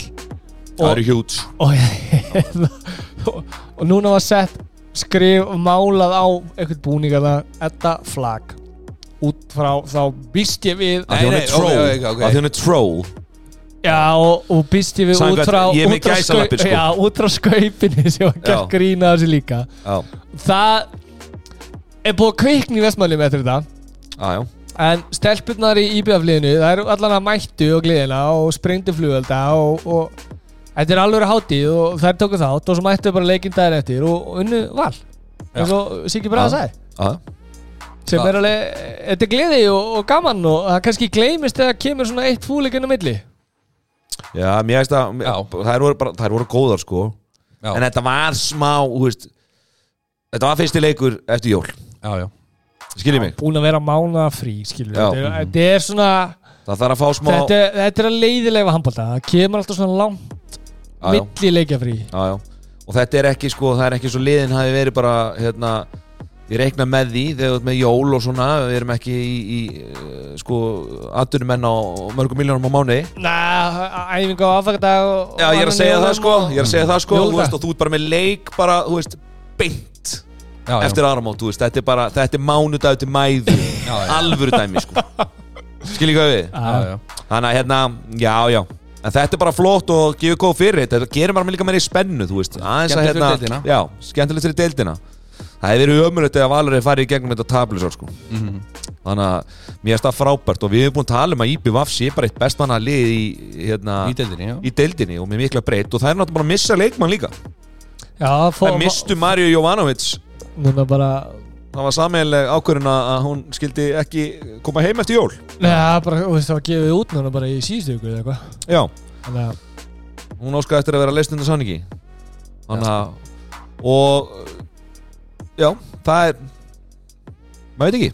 það og, eru hjúts og, og, og núna var sett skrif málað á einhvern búning að þetta flag út frá þá býst ég við Af því hún Nei, er nei, troll ok, ok, ok. Af því hún er troll já og, og býst ég við Samkvæmt, út frá, ég er með út frá, gæsalappir, sko. já, út frá skaupinni sem var gert Já. grína þessi líka Já, það er búið að kvikna í vestmælum eftir þetta já, já En stelpurnar í IBF-liðinu, það eru allan að mættu og gleðina og sprengdu flugölda og, og þetta er alveg hátíð og þær tóku þátt og svo mættu bara leikinn daginn eftir og og unnu val eins og Siggi Braga Já. sagði Já, sem Já. er alveg, þetta er gleði og, og gaman og það kannski gleymist þegar kemur svona eitt fúlik inn á milli já mér veist að Já. þær voru, bara, þær voru góðar sko Já. En þetta var smá, þú veist Þetta var fyrsti leikur eftir jól Já, já Skiljið mig búin að vera mánaða frí, skilur Já. þetta, er- þetta er svona, Það þarf að fá smá þetta, er- þetta er að leiðilega handbólta, það kemur alltaf svona langt já, já, milli leikjafrí já, já. Og þetta er ekki sko, það er ekki svo liðin hafi verið bara hérna, ég reikna með því þegar þú ert með jól og svona við erum ekki í, í eh, sko atvinnumenn á mörgum miljónum á mánuði Næ, æfingu á aðfækkadag Já, ég er að segja það sko, ég er að segja það sko Jú, þú það. veist, og þú ert bara með leik bara, þú veist, beint Já, já. eftir áramót, þú veist, þetta er bara þetta er mánudag til mæðu, Já, já. alvöru dæmi sko Skiljið hvað við? Ah. Já, já. Þannig að hérna, já, já En þetta er bara flott og gefur góð fyrir þetta Þetta gerir maður líka meira í spennu, þú veist Aðeins að Skemmtilegt hérna, fyrir deildina. já, skemmtilegt fyrir deildina Það hefur verið ömurlegt eða valur hefur farið í gegnum þetta tablisor sko Mhm. Þannig að mér er það frábært og við hefum búin að tala um að IBVF sé bara eitt bestmanna lið í, hérna, Í deildinni, já í deildinni og með mikla breytt og það er náttúrulega bara að missa leikmann líka Já, fó, Það mistu Marju Jovanovic Núna bara það var sameiginleg ákvörðin að að hún skildi ekki koma heim eftir jól Nei, það bara, þú veist, það var gefið út núna bara í síðustu ykkur eða eitthvað Já, Þannig að hún óskaði eftir að vera leist undan sanningi Þannig að og já, það er maður veit ekki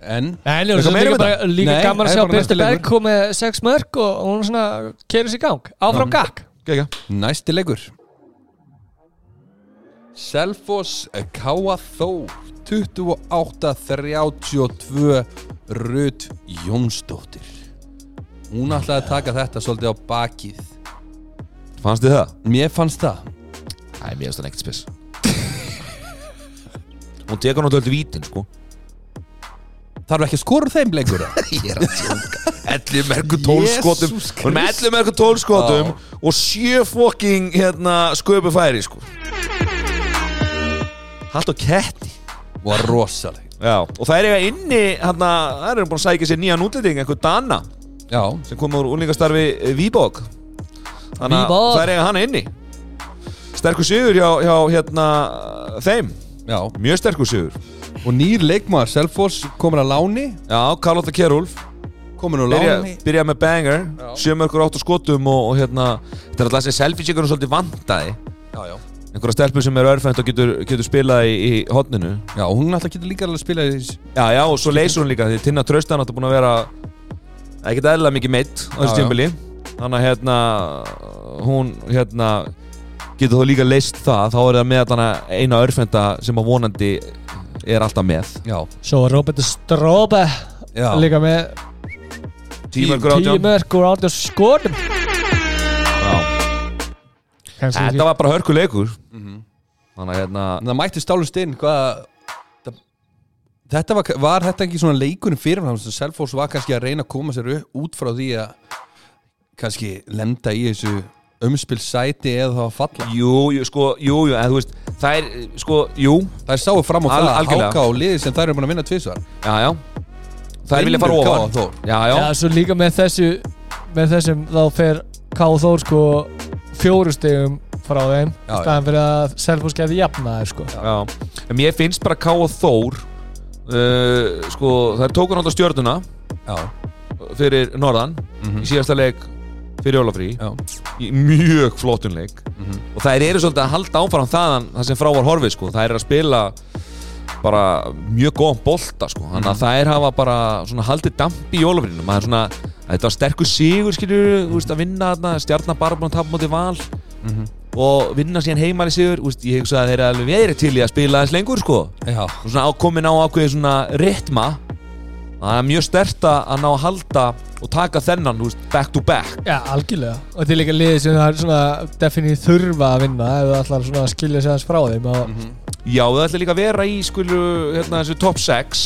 En En ég Eitthvað var líka, meira um bara, líka Nei, gaman að það er sjá bara Byrti næsti leikur. Berg kom með sex mörg og hún svona kerur sér í gang Áfram gakk Gekka. næsti leikur Selfoss Káa Þó 28-32 Rut Jónsdóttir Hún ætlaði að taka þetta svolítið á bakið Fannst þið það? Mér fannst það Æ, mér finnst það ekkert spes Hún tekur náttúrulega vítin sko Þarf ekki að skora úr þeim leikur eða? Ég er að tjóka 11 merku 12 skotum Jesús Hún er með 11 merku 12 skotum Og 7 fokking hérna sköpu færi sko Hatt og ketti Var rosaleg Já Og það er eiga inni hérna Það eru búin að sækja sér nýjan útlending Einhver Dana Já, Sem kom úr úlingastarfi Víbók Þannig að Viborg. það er eiga hana inni Sterkur sigur hjá, hjá hérna þeim já Mjög sterkur sigur Og nýr leikmaður, Selfoss, komin að láni Já, Karlotta Kjærúlf Komin að byrja, láni byrja með banger Sjömörkur átt og skotum og, og hérna Þetta er alltaf þessi selfie-sjökunum svolítið vantaði Já, já Einhverja stelpur sem er örfænt og getur, getur spilað í, í hotninu Já, hún alltaf getur líka alveg að spila í þessu Já, já, og svo leysur hún líka Því Tinna Traustan átti búin að vera ekkert eðlilega mikið meitt Já, á þessu já. tímbili Þannig að hérna hún hérna getur þú líka leist það þá er það með þarna eina örfenda sem að vonandi er alltaf með Já, Svo var Robert Strobe já líka með Tímörkur tíu átján mörg og átján skotum Já. Þetta var bara hörku leikur Þannig að hérna En það mætti stálust inn hvað það- Þetta var, var þetta ekki svona leikurinn fyrirfram sem Selfoss var kannski að reyna að koma sér upp, út frá því að kannski lenda í þessu umspilsæti eða þá að falla Jú, jú, sko, jú, jú, en þú veist Það er, sko, jú, Það er sáu fram á Al- það að algjörlega. háka á liði sem þær eru búin að vinna tvisvar já, já Það er vilja fara Vinnur ofan KA Þór. Já, já, Já, svo líka með þessu með þessum þá fer K. Þór sko fjóru stegum frá þeim Já, í staðan fyrir að Selfoss gæti jafna þeir sko já En mér finnst bara Ká og Þór uh, Sko, það er tókun átt á stjörnuna Já, Fyrir Norðan Mhm. Í síðasta leik fyrir Jólafrí já, Í mjög flottun leik Og þær eru svolítið að halda áfram þaðan Það sem frá var horfið, sko Þær eru að spila bara mjög góðan bolta, sko Þannig að þær hafa bara svona haldið dampi í Jólafrínu Maður svona, þetta var sterkur sigur, skilur Þú veist, að vinna þarna Stjarnar bara búin að tapa móti val Og vinna síðan heimæli sigur Úst, Ég hugsa að þeir eru alveg veðri til í að spila þess lengur, sko já, og svona á- komin á ákveði svona ritma það er mjög stert að að ná að halda og taka þennan, þú veist, back to back Já, algjörlega og þetta er líka liðið sem það er svona definið þurfa að vinna ef það ætlar svona að skilja sig aðeins frá þeim og já, það ætla líka að vera í skulu hérna þessu top 6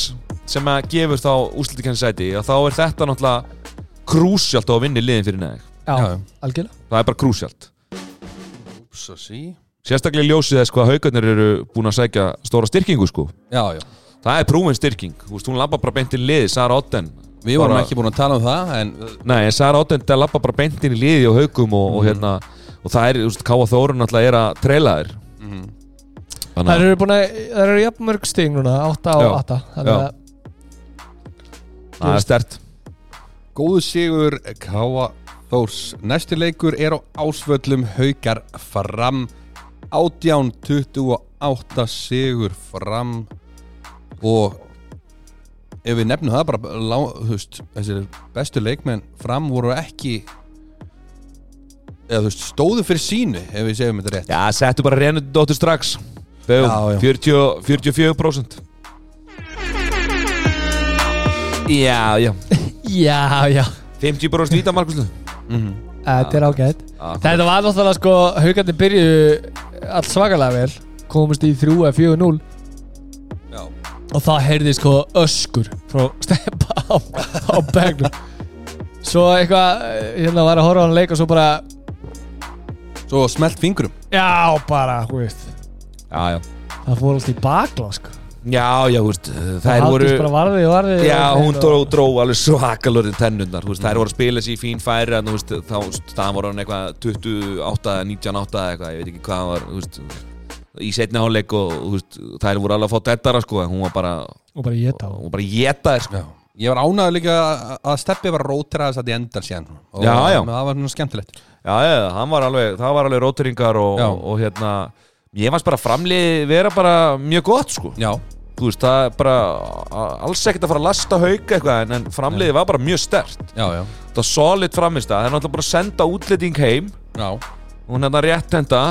sem að gefur þá úslitikennsæti og þá er þetta náttúrulega krúsjalt að vinna í liðin fyrir neðeg já, já. algjörlega það er bara krúsjalt Svo sí sérstaklega í ljósið þess hvað haugarnir eru búin að sækja stóra styrkingu sko Já, já það er prúin styrking, þú veist, hún labba bara beint í liði Sara Otten Við vorum Bara- ekki búin að tala um það en Nei, en Sara Ottendal lappa bara beint inn í liði og haugum og, Mhm. og hérna og það er, þú veist, Káa Þórun alltaf er að treyla þér Mhm. Það Þannig að eru búin að, það eru jafn mörg stig núna 8 á Já, 8 þannig já. að það er stert góðu sigur Káa Þórs Næsti leikur er á ásvöllum haukar fram 18-28 sigur fram og ef við nefnum það bara lá, þú veist, þessi bestu leikmenn fram voru ekki eða þú veist, stóðu fyrir sínu ef við segjum þetta rétt Já, settu bara reynandi dóttur strax Já, já. Bögum, 40 44% Já, já Já, já, 50% víta markuslu þetta er ágætt Já, Þetta var náttúrulega sko haugandi byrjuðu alls svakalega vel komist í 3 eða 4-0 Já. og það heyrði sko öskur frá steppa á, á begnum svo eitthvað eh, hérna var að horfa á hann leik og svo bara Svo smelt fingrum já bara þú veist, já það fór allt í bakla sko. Já, já, þú veist, eh, það þær voru haldist bara varði og varði Já, hún dró, og, dró alveg svakalörðin tennundar veist, Þær voru að spila sér í fín færi en, þú veist, Þá staðan voru hann eitthvað 28, 19, 8 eitthvað, Ég veit ekki hvað hann var þú veist, Í setni hálfleik og þú veist, þær voru alveg að fá dettara sko, en Hún var bara, og bara ég þá hún var bara geta sko. Já. Ég var ánægður líka að- að steppi var róteraðis að ég endar síðan og Já, já. það var nú skemmtilegt Já, já, hann var alveg, það var alveg róteringar og, Já. og, og hérna Ég fannst bara framlið vera bara mjög gott sko. Já, Þú veist, það er bara a- Alls ekkert að fara að lasta hauka eitthvað En, en framliðið var bara mjög stert já, já, Það var solid framist Það er náttúrulega bara að senda útlending heim já, hún hérna rétt henda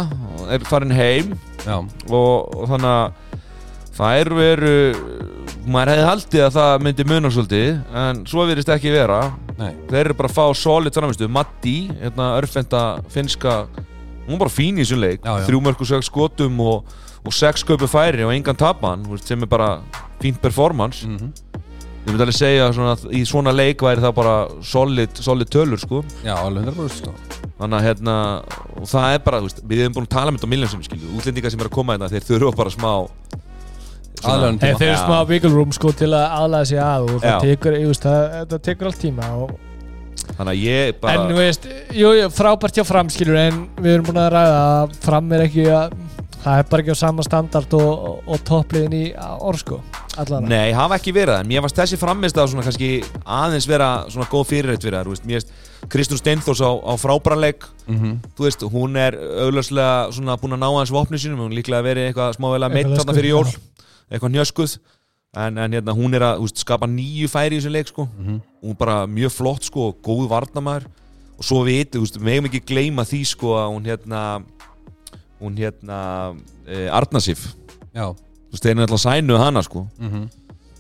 er farin heim já. og, og þannig að þær veru maður hefði haldið að það myndi muna svolítið en svo virðist ekki vera Nei. þeir eru bara að fá solid framistu Matti, hérna örfenda finska hún var bara fín í þessum leik Já, já. þrjú mörg og sex skotum og, og sex köpu færi og engan tapan þú veist, sem er bara fínt performance Mhm. ég myndi alveg segja svona, að í svona leik væri það bara solid, solid tölur sko Já, alveg 100% sko. þannig að hérna og það er bara, þú veist, við hefum búin að tala um þetta á miljón sem skilju, útlendingar sem eru að koma hérna þeir þurfa bara smá svona- Aðlögun Hey, þeir eru Já. smá wiggle room sko til að aðlaða sig að og það Já. tekur, ég veist, það, það tekur allt tíma og, þannig að ég bara en þú veist, jú, jú, frábært hjá fram skilur en við erum búin að ræða að fram er ekki að það er bara ekki á sama standard og, og, og toppliðin í Orsko allan Nei, hafa ekki verið það, en mér varst þessi framist að svona kannski aðeins vera svona góð fyrirreitt fyrir það, þú veist, mér veist Kristún Steinfors á, á frábæranleik Mhm. þú veist, hún er auglöslega svona búin að ná hans vopni sínum, hún líklega verið eitthvað smáveila meitt Eitthvað þarna fyrir jól löskuð, eitthvað njöskuð en, en hérna, hún er að þú veist, skapa nýju færi í þessu leik sko. hún er bara mjög flott sko, og góð varnamæður og svo við, þú veist, við megum ekki gleyma því sko, að hún hérna hún hérna e, Arnasif, Já, þú veist, þeir eru alltaf sænuð hana sko mhm,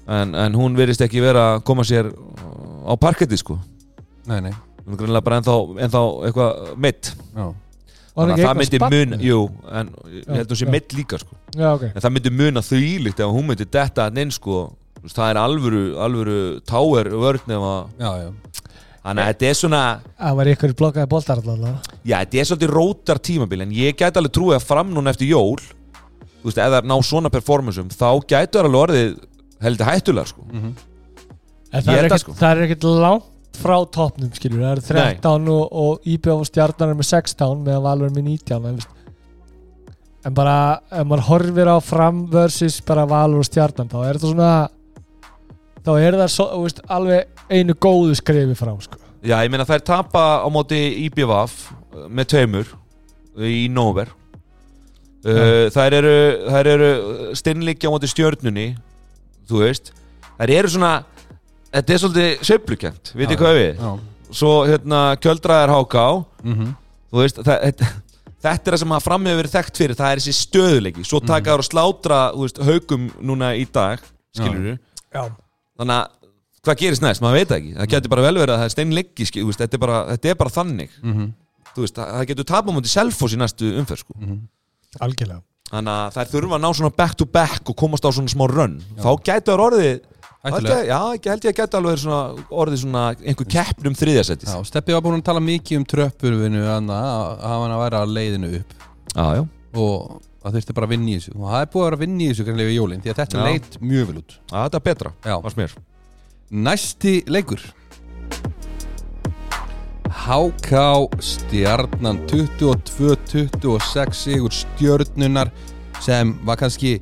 en, en hún verist ekki vera að koma sér uh, á parketti sko nei, nei hún er greinlega bara ennþá, ennþá eitthvað mitt Já, Var þannig að það myndi eitthvað mun sparn? jú, en ég Já, held hún sé já. mitt líka sko Já, ok en það myndi mun að þau líkt ef hún myndi detta hann inn sko Þú veist, það er alvöru, alvöru táer vörn ef að- já, já þannig að þetta er svona Það var ykkur blokkaði boltar allan já, þetta er svolítið rótar tímabil en ég gæti alveg trúið að fram núna eftir jól þú veist, ef það er ná svona performanceum þá gætu það alveg orðið heldur hættulega sko En Ég það er held að ekkert- sko. það er ekkert langt frá topnum skilur Það eru 13 og, og IBF og stjarnar er með 16 meðan Valur er með 19 en, veist. en bara ef maður horfir á fram versus bara Valur og stjarnar þá er það svona þá er það svo, þú veist, alveg einu góðu skrifi frá sko. Já, ég meina þær tapa á móti IBVF með taumur í Nóver uh, þær eru, þær eru stinnleikja á móti stjörnunni þú veist, þær eru svona þetta er svolítið sveiflukent við Já, þið hvað við, Já, svo hérna kjöldraðar háká, mhm, þú veist það, þetta, þetta er það sem að fram hefur verið þekkt fyrir það er þessi stöðuleiki, svo taka þær og slátra þú veist, haukum núna í dag skilur Já, þannig að hvað gerist næst, maður veit það ekki það getur bara vel verið að það er steinleggi skil, þú veist, þetta, er bara, þetta er bara þannig mhm Þú veist, það, það getur tapað mútið selfos í næstu umferð sko. algjörlega þannig að þær þurfa að ná svona back to back og komast á svona smá run þá getur það orðið held Hættulega. ég- já, ég held ég að geta alveg verið svona, orðið svona einhver um keppnum þriðasættis Já, Steppi var búin að tala mikið um tröppurvinu að hafa hann að vera að leiðinu upp já, já, og það þurfti bara að vinna í þessu og það er búið að vera að vinna í þessu greinlega í jólinn því að þetta Já. leit mjög vel út Að þetta er betra Já. fannst mér. Næsti leikur HK Stjarnan 22-26 sigur stjörnunar sem var kannski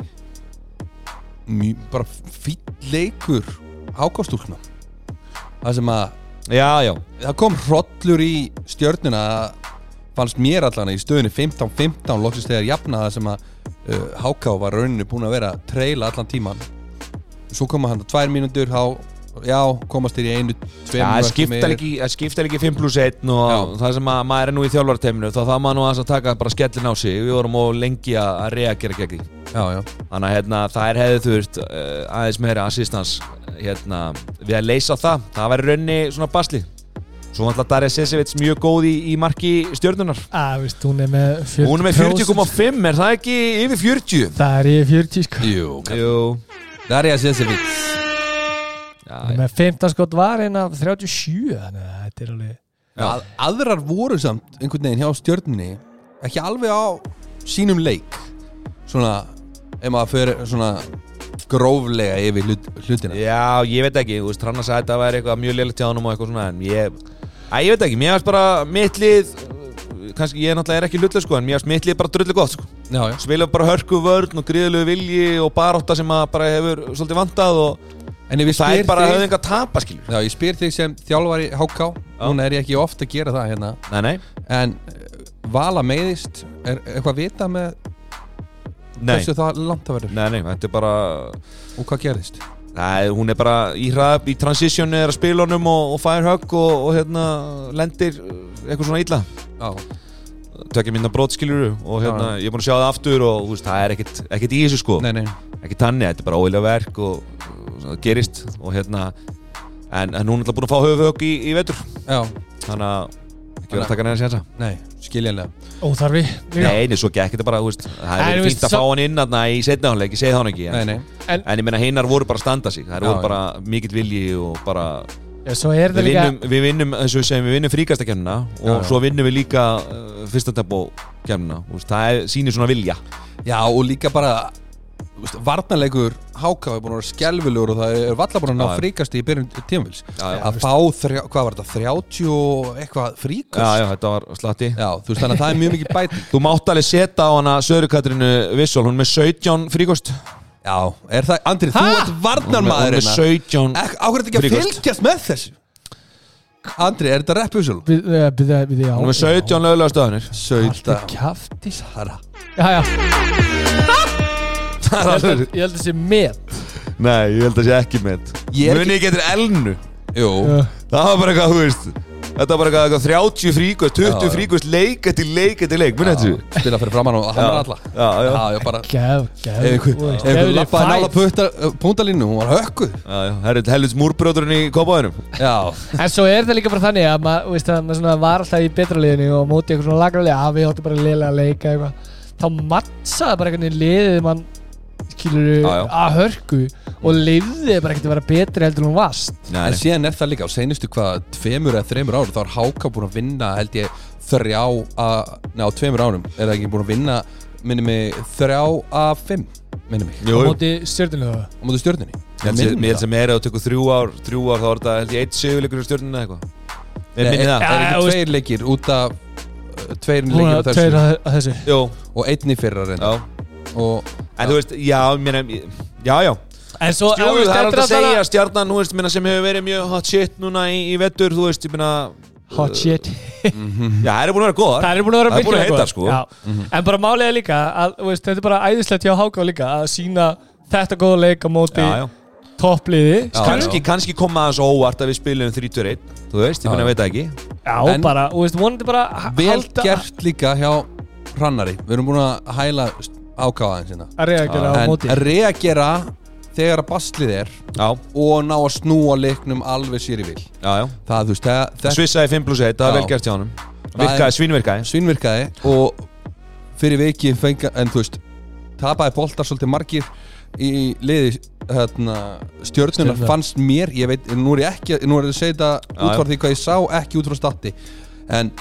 mjö, bara fýll leikur HK stúlkna það sem að já, já, það kom hrollur í stjörnuna fannst mér allan í stöðunni 15-15 loksist þegar jafnaða sem að uh, Háká var rauninu búin að vera að treila allan tíman svo koma hann að tvær mínútur þá, já, komast þér í einu já tveim það mörkum skiptar yfir. ekki, það skiptar ekki 5 plus 1 og Já. það sem að maður er nú í þjálfarteiminu þá það maður nú aðeins að taka bara skellin á sig við vorum og lengi að að reagera gegn því já, já, Þannig að hérna, þær hefðu þurft uh, aðeins meira assistans hérna, við að leysa það. Það væri raunni svona basli. Svo var alltaf Darja Sesevits mjög góð í, í marki stjörnunar. Að, veist, hún er með 40 Hún er með 40,5, er það ekki yfir 40? Það er í 40 sko jú Jú. það er ég að sé þessi vits Já, Hún er já. með 15 skot var en af 37 þannig að þetta er alveg að, aðrar voru samt einhvern veginn hjá stjörnunni ekki alveg á sínum leik svona, ef maður fyrir svona gróflega yfir hlut, hlutina já, ég veit ekki. Þú veist, hann að sagði að þetta væri eitthvað mjög leiligt hjá honum og eitthvað svona, en ég... Æ, ég veit ekki, mér finnst bara mittlið, kannski ég náttúrulega er ekki hlutlega sko, en mér finnst mittlið bara drullu gott sko. já, já, Spila bara hörku vörn og gríðlegu vilji og baróta sem að bara hefur svolítið vantað og en ef ég það spyr er bara þig- höfðing að tapa skilur Já, ég spyr þig sem þjálfari HK Núna er ég ekki ofta að gera það hérna Nei, nei, En eh, Vala meiðist Er eitthvað vita með nei, hversu það langt það verður nei, nei þetta er bara Og hvað gerðist? Nei, hún er bara í hrað í transitionu er að spila honum og, og fær högg og, og hérna lendir uh, eitthvað svona illa Já, Tökja minna brotskiluru og hérna ég er búin að sjá það aftur og þú veist, það er ekkert, ekkert í þessu sko nei, nei ekki tanni, þetta er bara óilega verk og, og það gerist og hérna en, en hún er alltaf búin að fá höfuhögg í, í vetur Já, þannig að ekki verið Þannig- að taka neina sénsa nei, skiljanlega óþarfi líka. Nei, nei, svo gekk þetta bara, þú veist, það En, er þú veist, fínt að fá svo- hann inn þarna í setna hálfleik, ég segi það hann ekki en- sko. Nei, nei, En En ég meina hinnar voru bara að standa sig Það Já, voru já. bara mikill vilji og bara Já, svo er það Við líka vinnum, við vinnum, eins og við segjum, við vinnum fríkastakernina Og Já, já. svo vinnum við líka eh, uh, fyrsta tempo kernina Það er, sýnir svona vilja já og líka bara veist, varnarleikur háká er búin að vera skelvilegur og það er valla búin að Já, já. ná fríkast í byrjun tímavils Já, já. að fá, þrjá, hvað var þetta, 30 og eitthvað fríkast já, já, þetta var slatti Já, þú veist þannig að það er mjög mikið bæti Þú mátt alveg setja á hana Söðru Katrínu Vissól, hún er með 17 fríkost Já, er það, Andri, þú Ha? ert hérna. Hún er- hún varnarmaður er með 17 Ákveður ekki að Fríkost. fylgjast með þessu Andri, er þetta reppusul? Byrja, byrja, byrja, eh, já Hún er með 17 lögulega stöðunir Sölda Kjafti Sara Já, já Ég held að sé með Nei, ég held að sé ekki með Ég er Muni ekki eftir elnu Jú, Það var bara eitthvað, þú veist Þetta var bara eitthvað- eitthvað 30 fríkost, 20 Já, já. fríkost Leik eftir leik eftir leik, muni eftir því? spila fyrir framann og hamra alla Já, já, Já, já, bara Gef, gef Ef einhver- ef einhver lappaði nála putta- púntalínu, hún var hökkuð já, já Herrið helvits múrbrjóturinn í kópaðinum Já, En svo er það líka bara þannig að maður, veist það, maður svona var alltaf í betra liðinu og móti eitthvað svona lagra liði að við hóttum bara liðlega að leika eitthvað þá mattsaði bara einhvern veginn liðið mann skilur Já, já. að hörku og leiðið bara ekkert að vera betri heldur en hún vast en síðan er það líka á seinustu hvað tveimur eða þreimur árum þá er Háka búin að vinna held ég þrjá að, ná tveimur árum er það ekki búin að vinna minni mig þrjá að fimm minni mig á Jú, jú. móti stjórnilega á móti stjörninni Ég held sem- ég held sem er að tökur þrjú ár Þrjú ár þá er þetta held ég eitt sigurleikur í stjórninu eða eitthvað Nei, minni það það er Já, ekki þú veist- tveir leikir út af uh, tveir hún leikir að út af tveira þessu að þessu Jú, og einn í fyrra reynda já og En þú veist, já, ég meina Já, já En svo Jú, þú jú, veist, það er alltaf að bara- segja stjarnan, þú veist, minna, sem hefur verið mjög hot shit núna í, í vettur, þú veist, ég minna Hot shit Já, það er búin að vera góðar Það er búin að vera Það er búin að virkilega heita, gott. sko. Já. En bara málið er líka að, þú veist, Þetta er bara æðislegt hjá Háká líka að sína þetta góða leik á móti Já, já. toppliði Já, skilurðu? Kanski, kannski koma aðeins óvart að við spilum 3-2-1, þú veist, ég minna, Já. veit það ekki Já, En- bara, og veist, vonandi bara h- vel halda- gert líka hjá hrannari við erum búin að hæla ákáðaðin sinna að reagera á en móti reagera þegar að baslið er Já, og ná að snúa leiknum alveg sér í vil já, já það þú veist, það, það Svissaði 5 plus 1, það Já. er vel gert hjá honum Það er- Virkaði, svínvirkaði svinvirkaði og fyrir viki fenga, en þú veist tapaði boltar svolítið margir í liði hérna, stjörnuna Stjörnuna. fannst mér, ég veit, nú er ég ekki nú er ég að segja þetta Já, út frá já. því hvað ég sá ekki út frá statti en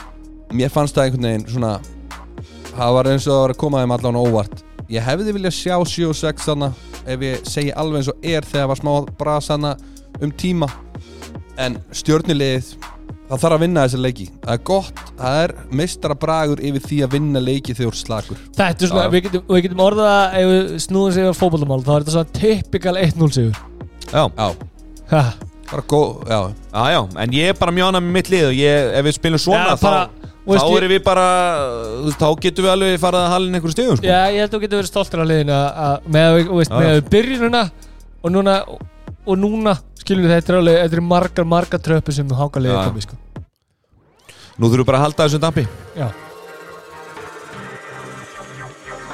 mér fannst það einhvern veginn svona það var eins og það var að koma þeim allan á óvart ég hefði viljað sjá 7 og 6 þarna ef ég segi alveg eins og er þegar var smá bras þarna um tíma en stjörnulegið það þarf að vinna þessi leiki það er gott, það er meistarabragur yfir því að vinna leiki þegar þú ert slagur Þetta er svona, Já. við getum, við getum orðað að ef við snúðum sig á fótbollamál þá er þetta svona typical 1-0 sigur Já, já, Ha. bara góð, já, já, já, en ég er bara mjög ánægð með mitt lið og ég, ef við spilum svona, Já, bara, þá þú veist, Þá ég- erum við bara, þú veist, þá getum við alveg farað að halin einhverjum stegum, sko Já, ég held að þú getur verið stoltur af liðinu að- að- með að við, þú veist, Já, með já. að við byrjununa og núna, og núna skilur við þetta er alveg, þetta er margar, margar tröppu sem háka liðið Já. komið, sko Nú þurfum við bara að halda þessum dampi Já,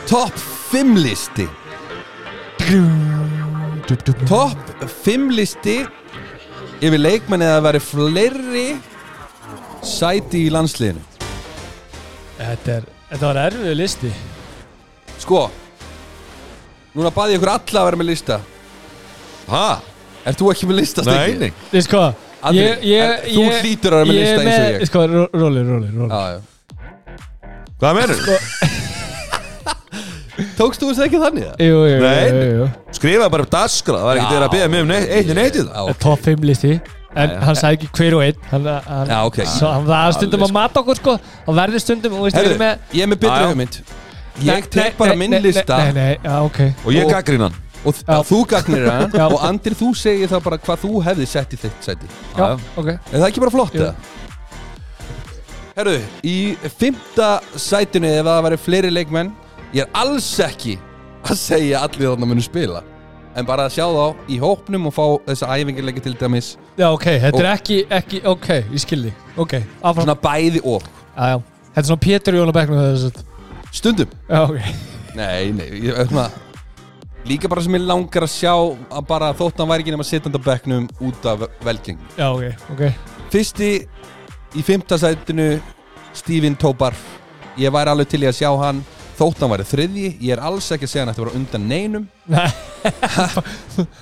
top 5 listi top 5 listi yfir leikmenn eða veri fleiri sæti í landsliðinu þetta er, þetta var erfið listi sko núna baði ég ykkur alla að vera með lista Ha? er þú ekki með lista Nei, nei Þið sko, Andri, en þú hlýtur að vera með lista eins og ég. Sko, ró- róli, róli, róli já, já. Hvað menur? tókst þú þessi ekki þannig það? Jú, jú, Nei. jú, jú, jú. skrifaði bara upp dagskrá það var ekkert Já. verið að beða mig um neitt, eitt neitt í það já, top 5 listi en já. hann sagði ekki hver og einn hann, hann, Já, ok. svo, hann var stundum Alveg, að mata okkur sko hann verði stundum og veist, Herru, við erum með, ég er með betri Já, já. hugmynd Nei, Ég tek nei, bara nei, minn nei, lista nei, nei, já, ok og ég Og- gaggrín hann og Já. já. þú gagnir hann Já. og Andri þú segir það bara hvað þú hefði sett í þitt sæti já, Já, já. ok Er það ekki bara flott Jú. eða? Herru, í fymta sætinu ef það væri fleiri leikmenn ég er alls ekki að segja að allir þarna munu spila en bara að sjá þá í hópnum og fá þessa æfingarleiki til dæmis já, ok þetta er Og- ekki, ekki ok ég skildi ok áfram svona bæði og já, já þetta er svona Pétur Jón á bekknum þegar þess að stundum já, ok Nei, nei, ég, svona, líka bara sem ég langar að sjá að bara þótt hann væri ekki nema sittandi á bekknum út af velgengni já, ok ok Fyrsti í fymta sætinu Stephen Tobar Ég væri alveg til í að sjá hann Þótt hann væri þriðji Ég er alls ekki að segja hann að þetta var undan neinum Nei,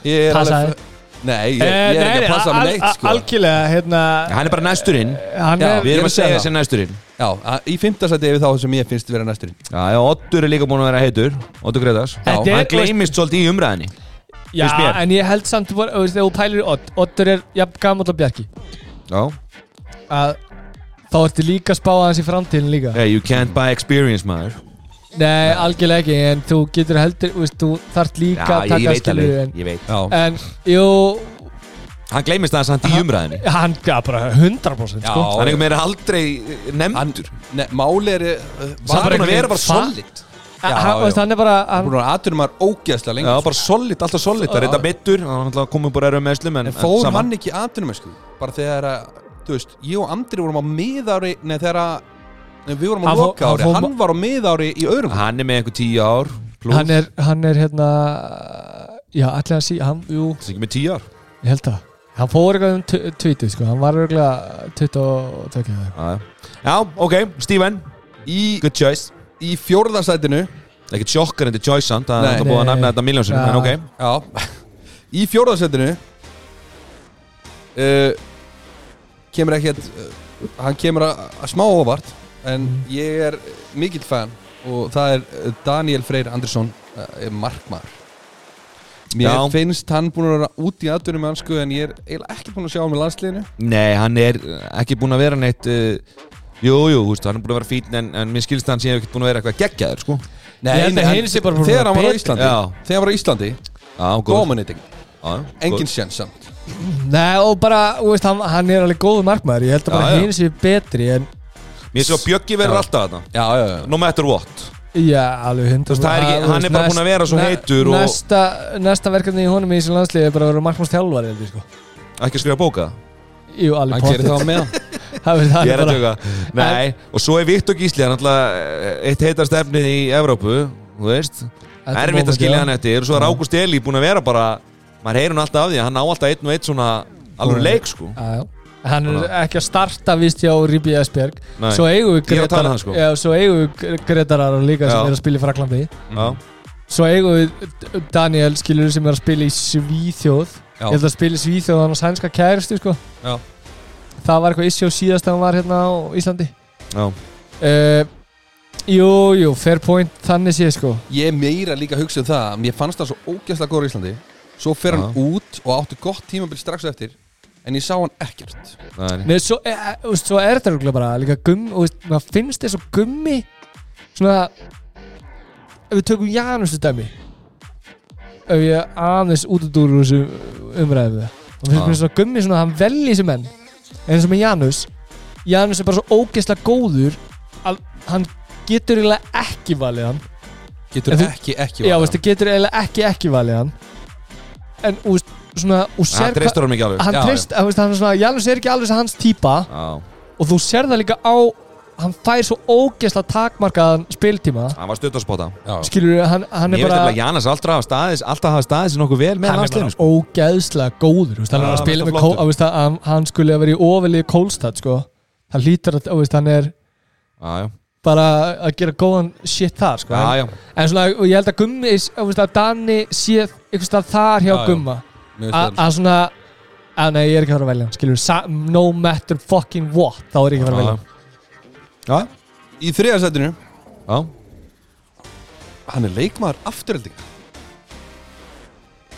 Ég er Passaði. alveg Nei, ég, Eh, ég er ekki að passa með neitt sko. Algjörlega, hérna Hann er bara næsturinn Hann Já, er við erum Við erum að segja að segja það. þessi næsturinn Já, að- í fimmtasæti yfir þá sem ég finnst vera næsturinn Já, já, Oddur er líka búin að vera heitur Oddur Gretas Þetta er- Hann gleymist svolítið í umræðinni Já, finnst mér. en ég held samt bara, þú veist, þegar þú pælir í Odd Oddur er jafn gamall og Bjarki Já að þá ertu líka að spá aðeins í framtíðin líka Eh. Hey, you can't buy experience, maður Nei, algjörlega ekki, en þú getur heldur þú veist, þú þarft líka Já, að ég, ég taka veit skilur alveg en, Ég veit Já, en, jú, Hann gleymist það samt í umræðinni hann gaf bara 100% já sko Hann er meira aldrei eh, hann, nefndur ne, Máli er uh, Samt bara búin að einhvern vera bara fa- solid já, hann, já. veist, hann er bara hann, Búin að aðturum maður ógeðslega lengi sko. Já, bara solid, alltaf solid Það er þetta mittur Hann ætlaði að koma upp úr erum meðslum En, En fór hann ekki aðturum Bara þegar að, þú veist, ég og Andri vorum á miðári Nei, þegar að nei, Við vorum á Hann fó- loka ári, hann fór- hann var á miðári í öðrum Hann er með einhver tíu ár plus. hann, er, hann er hérna já, allir að sí, hann, jú, Það er ekki með tíu ár ég held það hann fór eitthvað um tvítið, sko hann var örgulega 22 eða eitthvað. Já, já. Já, ok, Steven Í, Good choice í fjórðasætinu Ekkert sjokkar en þetta choice samt Það Nei. er búið að Nei. nefna þetta miljónsinu En ok Já. Já Í fjórðasendinu uh, Kemur ekkert uh, Hann kemur að, að smá óvart En Mm. ég er mikill fan Og það er uh, Daniel Freyr Andersson uh, Markmaður Mér Já. finnst hann búin að vera út í aðdunum með hansku En ég er eiginlega ekki búin að sjá hann með landsliðinu Nei, hann er eh, ekki búin að vera neitt uh, Jú, jú, húst, hann er búin að vera fín En, en mér skilst að hann sé ekki búin að vera eitthvað geggjaður sko. Nei, held að hinn sé bara búinn að Þegar hann var á betri. Íslandi Já. Þegar hann var á Íslandi sko. Já, góð Dominating Engin sjens samt Nei, og bara, þú veist, hann, hann er alveg góðu markmaður ég held að Já, bara já. hinn sé betri en Mér sé að Bjöggi verður alltaf þarna Já, já, já No matter what Já, alveg hundra veist, það er ekki- hann er bara búinn að vera svo heitur og- Næsta, næsta verkefni í honum í þessu landsliði er bara að vera markmanns þjálfari heldur, sko. Ekki að skrifa bóka Jú, alveg Hann gerir pottþétt. það á meðan Það er- það er Ég er að bara- tjóka Nei, og svo er Viktor Gísli Hann alltaf eitt heitast efnið í Evrópu Þú veist Þetta er Erfitt moment, að skilja já. hann eftir Og svo er Ágúst Eli búin að vera bara Maður heyrir hann alltaf af því að Hann á alltaf einn og einn svona Alveg leik sko Já, já. Hann er ekki að starta vist hjá Ríbi Esbjerg Nei. Svo eigum við Ég er að tala Gretar um hann, sko. já, Svo eigum við Gretarar líka sem Já. er að spila í Fraklandi Já Svo eigum við Daniel skilur sem er að spila í Svíþjóð Já. Ég held að spila í Svíþjóð hann á sænska kæristu sko. Já. Það var eitthvað issue síðast að hann var hérna á Íslandi Já uh, Jú, jú, fair point Þannig sé sko Ég er meira líka að hugsa um það Mér fannst það svo ógæslega góður í Íslandi Svo fer hann Já. út og átti gott tímabil strax eftir En ég sá hann ekkert Nei. Mm. Nei, svo, e, e, úst, svo er þetta örugglega bara líka gummi, úst, maður finnst þessu gummi svona ef við tökum Janustu dæmi ef ég aðeins út út úr þessu umræðu það og finnst Já. mér svona gummi svona hann velji þessu menn en eins og með Janus Janus er bara svo ógeðslega góður að hann getur eiginlega ekki valið hann Getur En þú- ekki, ekki já, valið veist, hann. getur eiginlega ekki ekki valið hann en úst, svona og sér Hann hvað- treystur hann ekki alveg hann Já, já. treyst, þú veist, hann er svona Janus er ekki alveg sem hans típa Já og þú sér það líka á hann fær svo ógeðslega takmarkaðan spiltíma Hann var stutt að spota Já. skilur hann, hann er Ég veit bara ekki að Jannes alltaf hafa staðis Alltaf hafa staðis nokkuð vel með hann er bara landsliðinu sko. ógeðslega góður þú veist, hann Já, er að spila hann er með kó, flottur. að, veist, að, hann- hann skulle að vera í ofilið kólstad sko. hann lítur að þú veist, hann er Já, já bara að gera góðan shit þar sko. Já, já en svona, og ég held að Gummi að, veist, að Danni sé einhvers stað þar hjá Já, já. Gumma Mér að finnst það- að svona að nei, ég er ekki að fara að velja hann skilur, sa- no matter fucking what þá er ég ekki að fara að velja Já, hann já Í þriðarsætinu Já Hann er leikmaður afturölding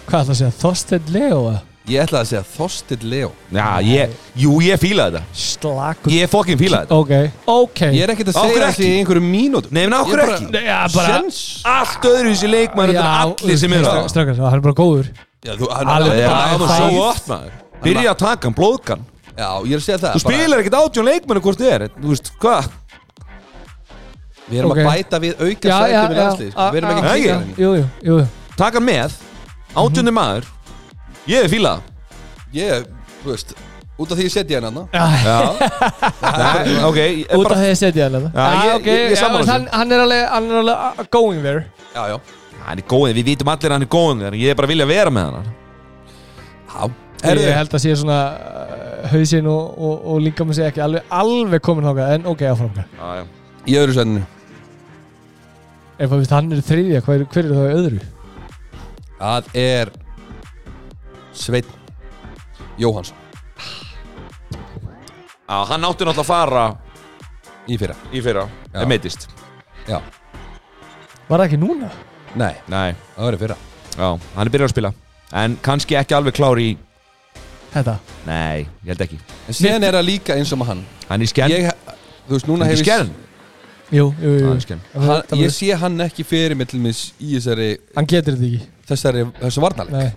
hvað ætla að segja, Þorstein Leo eða? Ég ætlaði að segja Þorsteinn Leo Já, ég Jú, ég fílaði þetta slakur Ég fucking fílaði þetta Ok Ok Ég er ekkert að Af hverju segja þessi ekki? í einhverju mínútu Nei, menn okkur ekki Nei, ja, Sjens Allt öðru þessi leikmæður Já, Þetta er allir sem eru á strákar, Strákar, hann er bara góður Já, þú, hann, Alveg já, Já, bara já, þú fæð. svo gott maður Byrja að taka hann, blóðkan já, ég er að segja það Þú spilar ekkert átjón leikmennu hvort þið er Þú veist, hvað? bara, Við erum Ok. að bæta við auka sæti við landslið sko. Við erum ekki a- að Nei, kýja já, Jú, jú, jú Taka hann með Átjónni maður Ég er fílað Ég, þú veist Út af því ég setja hérna hann hann Já, Já Nei, ok ég er Út af bara- því að setja hann þetta Já, ég- ok, ég- ég er já, sammála þessu. hann, hann er alveg, hann er alveg uh, going there Já, já Hann er góðið, við vitum allir að hann er góðið Ég er bara að vilja vera með hann Já, Ég herðu held að sé svona uh, hausinn og, og, og líka með sig ekki alveg, alveg komin þáka En ok, áfram hvað. Já, já Í öðru sætinu Ef að við hann er þriðja, hver, hver er það öðru? Það er Sveinn Jóhansson Já, hann átti náttúrulega að fara í fyrra í fyrra Já. En meittist Já, Var það ekki núna? nei, Nei, það var í fyrra já, hann er byrjað að spila En kannski ekki alveg klár í Þetta Nei, ég held ekki En síðan er það líka eins og með hann Hann er í skenn Ég, þú veist, núna Hann er hef í ég skenn Jú, jú, jú, Hann jú. er í skenn hann, Það Ég verður- sé hann ekki fyrir með til mis í þessari, Hann getur þetta ekki þessari þessu varnarleik Nei.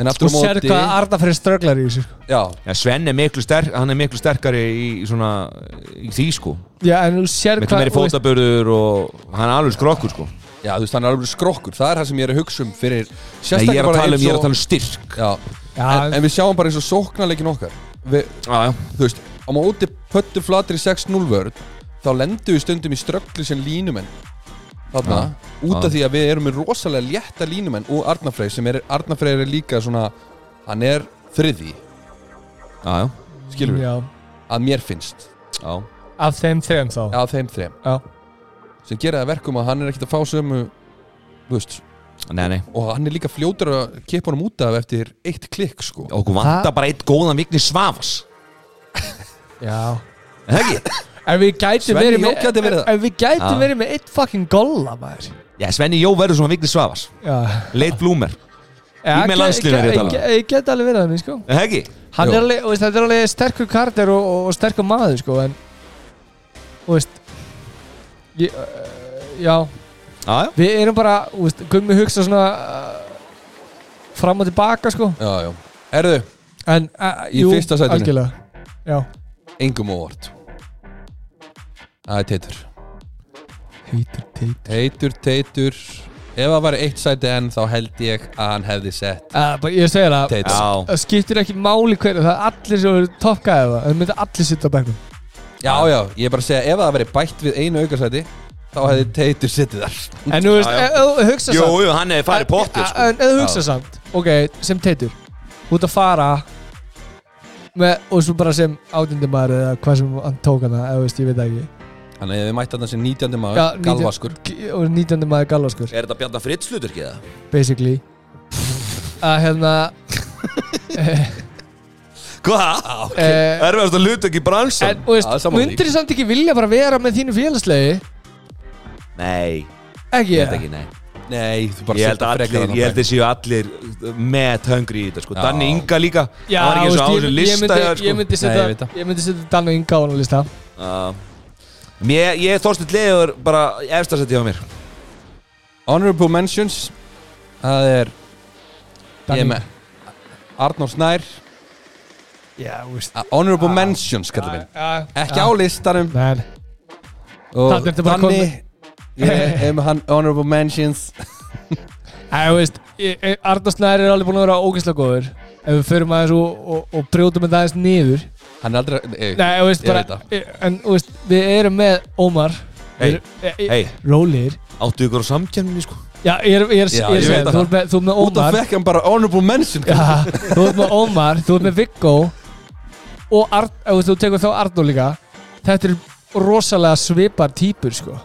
En aftur Þú á sér móti hvað Arna fyrir strögglar í þessu sko. Já, Já, Sven er miklu, sterk, hann er miklu sterkari í, svona, í því sko Já, en þú sér Miklu hvað meiri þú veist- fótabörður og hann er alveg skrokkur sko Nei, já, þú veist, hann er alveg skrokkur Það er það sem ég er að hugsa um fyrir Sérstaklega ég, er að bara tala um, eins ég er og- að tala um styrk Já, en, Já, en við sjáum bara eins og sóknarleikin okkar við, Já, já þú veist, á móti pöttu flatri 6-0 vörð þá lendum við stundum í ströggli sem línumenn þarna, út af já. því að við erum með rosalega létta línumenn og Arnafrey sem er, Arnafrey er líka svona hann er þriði, Já, já, skilur við, já að mér finnst já. Af þeim þeim þá að þeim þrem, Já. sem gera það verkum að hann er ekkert að fá sömu þú veist, Nei, nei, og hann er líka fljótur að kippa honum út af eftir eitt klikk sko okkur vantar bara eitt góðan vikni Svavas Já Er það ekki? En við gætum Svenni verið Jó gæti verið með það. En við gætum Já. verið með eitt fucking golla maður Já, Svenni Jó verður svona vikni Svavas Já Leit blúmer, Já, með ge- landsliðinu er ég að ge- tala um. ge- Ég get alveg verið þannig sko er það ekki? Hann Jú. er alveg, þú veist, þetta er alveg sterkur karakter og, og, og sterkur maður sko En, þú veist ég, uh, Já, Já, já við erum bara, þú veist, gummi hugsa svona uh, Fram og tilbaka sko já, já, erðu, En, uh, Í jú, fyrsta sætinu. algjörlega Já engum óvart það er teitur Heitur, heitur Teitur, teitur Ef það var eitt sæti enn þá held ég að hann hefði sett bara, Eh, Ég segir það Teitur Já, Það skiptir ekki máli hverju Það er allir sem eru toppgæði það Það mynda allir sitta á bænum Já, já, ég er bara að segja ef það verið bætt við einu aukasæti þá hefði Teitur setið þar En þú veist, Já, já. ef ef þú hugsa jú, samt jú, hann er farið pottir En- sko En ef þú hugsa samt Ok, sem teitur Þú ert að fara með, Og svo bara sem átjöndumar Eða hvað sem hann tók hana Eða þú veist, ég veit það ekki Þannig að við mætt hann sem 19. maður, Já, já, 19. galvaskur K- Og nýtjöndumar galvaskur Er þetta Bjarnar Fritzlutur ekki það? Basically Að hérna Hvað? eh, Erfiðast að luta ekki bransan En þú Já, veist, sammála því. myndir þú samt ekki vilja bara vera með þínu félagslegi Nei, Ekki, ég held ekki, nei Nei, þú bara Ég held setja að frekar allir, þarna ég held frekar. að séu allir með höngri í þetta sko Já. Danni Inga líka, Já, hann var ekki eins og á veist, þessu ég- ég lista myndi- hér, Ég Nei, myndi sko. ég veit setja það. Ég myndi setja Dan og Inga á hann á lista Já. Mér, ég er Þorsteinn Leifur bara efstasætti á mér Honorable mentions Það er, ég Dan er Inga. með Arnór Snær Já, þú veist Uh, Honorable Ah. mentions, kallar minn Ekki á listanum Nei, Og Þarna ertu bara Danni komin- Ég er með hann honorable mentions Æ, þú veist Arna Snæri er alveg búin að vera ógeðslega góður Ef við förum aðeins og, og, og brjótum þetta aðeins niður Hann er aldrei eh, Nei, þú veist Ég bara veit það. eh, En, þú veist, við erum með Ómar Hey, hey. Hei, Rólir áttu ykkur á samkjæmni sko Já, ég er, ég er, Já, ég ég er að segja veit það. Þú ert með, þú ert með Út af Ómar vekkan bara honorable mention kallar minn. Já, Þú ert með Ómar, þú ert með Viggo Og Ar, ef þú veist, þú tekur þá Arnó líka Þetta er rosalega svipar típur sko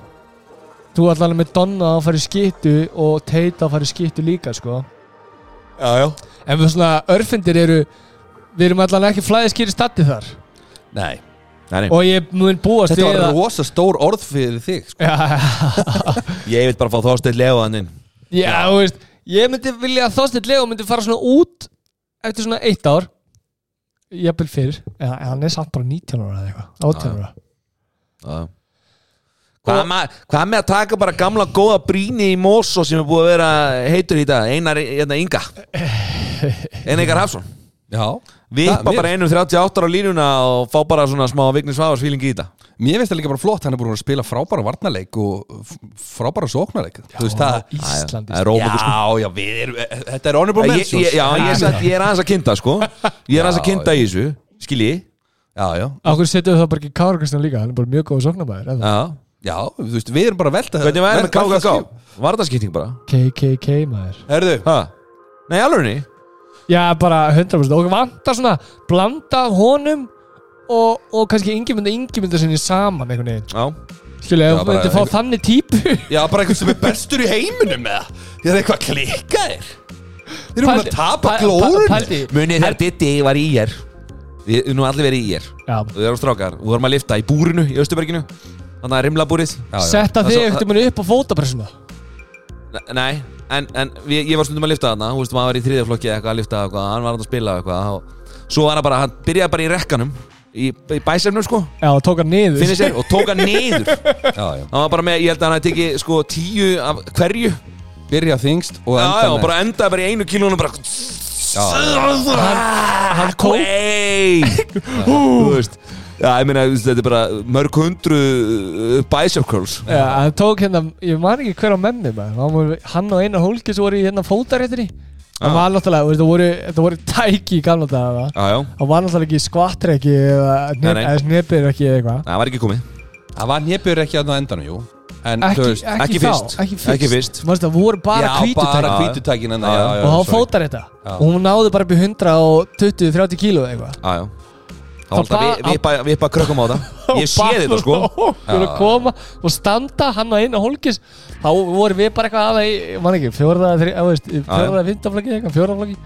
Þú ætlar alveg með Donna að fara í skýttu Og Teita að fara í skýttu líka sko Já, já En við svona örfendir eru Við erum allan ekki flæðiskýri statti þar Nei Nei, nei. Og ég mun búast Þetta var að rosa stór orð fyrir þig sko. Já, Ég veit bara að fá Þorsteinn Leifur hann inn já, þú veist Ég myndi vilja að Þorsteinn Leo myndi fara svona út Eftir svona eitt ár Jafnvel fyrr Já, en hann er samt bara 19 ára eða eitthvað 18 ára Já. Hvað, og... með, hvað með að taka bara gamla góða bríni í Mosó sem er búið að vera heitur í dag Einar hérna, Inga Einar Ingar Hafsson Já Vippa mér- bara einum 38 ára á línuna og fá bara svona smá Vignis Vavars fílingi í þetta Mér finnst það líka bara flott Hann er búin að spila frábæra varnarleik og f- frábæra sóknarleik Þú veist það Íslandi Það er rómantískt. Já, já, við erum eh, Þetta er honorable sko. sko. ég, mentions ég, já, ég, er satt, ég er aðeins að kynda sko Ég er aðeins að Já, kynda í þessu Skilji já, já, Akkur setjum við það bara ekki Kára Kristján líka Hann er bara mjög góð sóknabæður Já. já, þú veist, við erum bara að velta Hvernig væri með velta- velta KKK? skip. Vardaskipting bara KKK maður Herðu, ha. Nei, alveg ný Já, bara 100% Okkur vantar svona Blanda af honum Og, og kannski yngjumynda yngjumynda sinni saman einhvern veginn Já, Skilja, Já, ef þú bara myndir fá einhver- þannig típu já, bara einhvern sem er bestur í heiminum með það Það er eitthvað klikkaðir Þeir eru búin Pældi- að tapa pæ- glórunni pældi- Munið þegar Diddi var í ég Við nú allir verið í ég Já. Og við erum strákar Og við vorum að lifta í búrinu í Östuberginu Þannig að rimla búrið Setta Það þig svo- ekkert munið upp á fótapressuna Nei, en, en við, ég var stundum að lifta þarna Þú veist, maður var í þriðja flokki eitthvað að lifta eitthvað Hann var hann að spila eitthvað og Svo var hann bara, hann byrjaði bara í rekkanum Í, í bæsefnum sko, Já, tók hann niður finnir sér Og tók hann niður Hann já, já. var bara með, ég held að hann hafði tekið sko tíu af hverju Byrja þingst og Já, enda já, og neðst. bara endaði bara í einu kílónu bara Hann tók- Þú veist Já, ég meina, þú veist, þetta er bara mörg hundru uh, bicep curls Já, hann tók hérna, ég man ekki hver á menni maður. Hann var- Hann og Einar Hólkis voru í hérna fótaréttinni Það var náttúrulega, þú veist, það voru, þetta voru tæki í gamla daga það. Já, já, Það var náttúrulega ekki skvattreki eða Nei, nei. snipir ekki eða eitthvað það var ekki komið Það var nébjör ekki að það endanum, jú En Ekki, þú veist ekki, ekki þá, fyrst. ekki fyrst, Ekki fyrst. Þú veist, það voru bara Já, kvítutæki bara hérna, Já, já. kvítutækin enna Já, já, og hann fótar þetta og hún náði bara upp í 120-30 kíló eða eitthvað Já, já Það var Það alltaf ba- vi- vippa, vippa krökkum á það Ég sé þetta sko okkur að koma og standa hann á einu hólkis þá vorum við bara eitthvað aða í mann ekki, fjórða, þri- eða, þú veist, í fjórða, fymtaflaki eitthvað, fjórðaflaki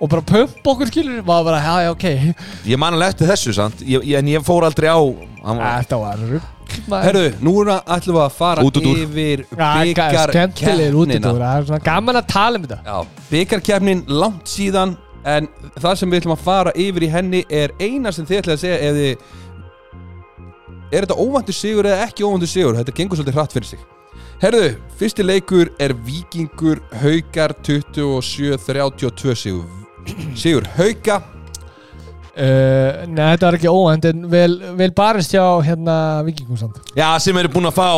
og bara pump okkur skilur maður bara, já, já, ok Ég man alveg eftir þessu, sant ég, ég, En ég fór aldrei á hann, var- þetta var rugl maður. Herru, núna ætlum við að fara Útúrdúr. yfir Já, ga- byggarkeppnina skemmtilegir útidúr það er svona gaman að tala um þetta Já, byggarkeppnin langt síðan En það sem við ætlum að fara yfir í henni er eina sem þið ætlum að segja ef þið Er þetta óvæntur sigur eða ekki óvæntur sigur? Þetta gengur svolítið hratt fyrir sig Herðu, fyrsti leikur er Víkingur Haukar 27-32 sigur Sigur Hauka uh, Nei, þetta var ekki óhænt en vel, vel barist hjá hérna vikingum samt Já, sem eru búin að fá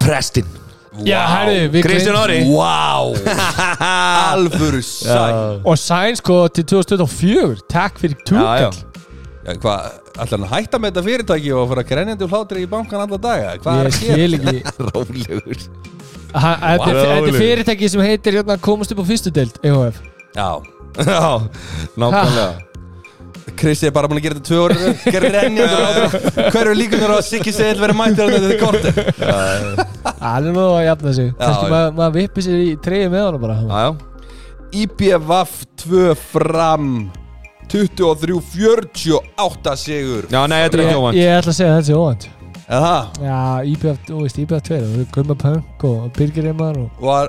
Prestin Já, herru, við Kristján gleymdum- Ári Vá Alvöru sæl Og Sainz sko til 2024 Takk fyrir Já, já. túkall Já, hvað, ætlar hann að hætta með þetta fyrirtæki og fara grenjandi og hlátri í bankan alla daga? Hvað er Ég að gera? skil ekki Rólegur Ha- Þetta er- þetta er Rólegur. fyrirtæki sem heitir hérna, komast upp á fyrstu deild E EHF Já, Já, nákvæmlega Kristi er bara búin að gera þetta tvö orður grenjandi og hlátri Hver eru líkunar á að Siggi Seil verið mættir að þetta korti? Það er nú að jafna sig Kannski já. maður maður vippir sér í treyju með hana bara Já, já IBVF 2 fram 23-48 sigur Já, nei, þetta er ekki Ég, óvænt ég ætla að segja að þetta sé óvænt Eða, Já, IPF, þú veist, IPF 2 Það eru Gumma Punk og Birgir Eymar og var,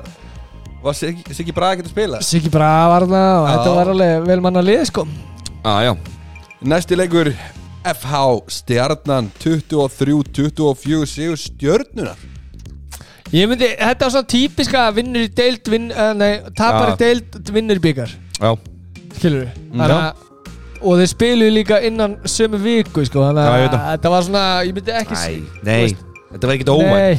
var Siggi, Siggi Braga ekki að spila? Siggi Braga var hana og Já. þetta var alveg vel manna lið sko Já, já Næsti leikur FH Stjarnan 23-24 sigur stjörnunar Ég myndi, þetta var svona típiska vinnur í deild, vinn, eh, nei, tapar Já. í deild, vinnur í byggar Já, skilur Mm, við og þeir spiluðu líka innan sömu viku sko, þannig að Já, ég veit það. þetta var svona ég myndi ekki Æ, s- nei Þú Þetta var ekki óvænt nei,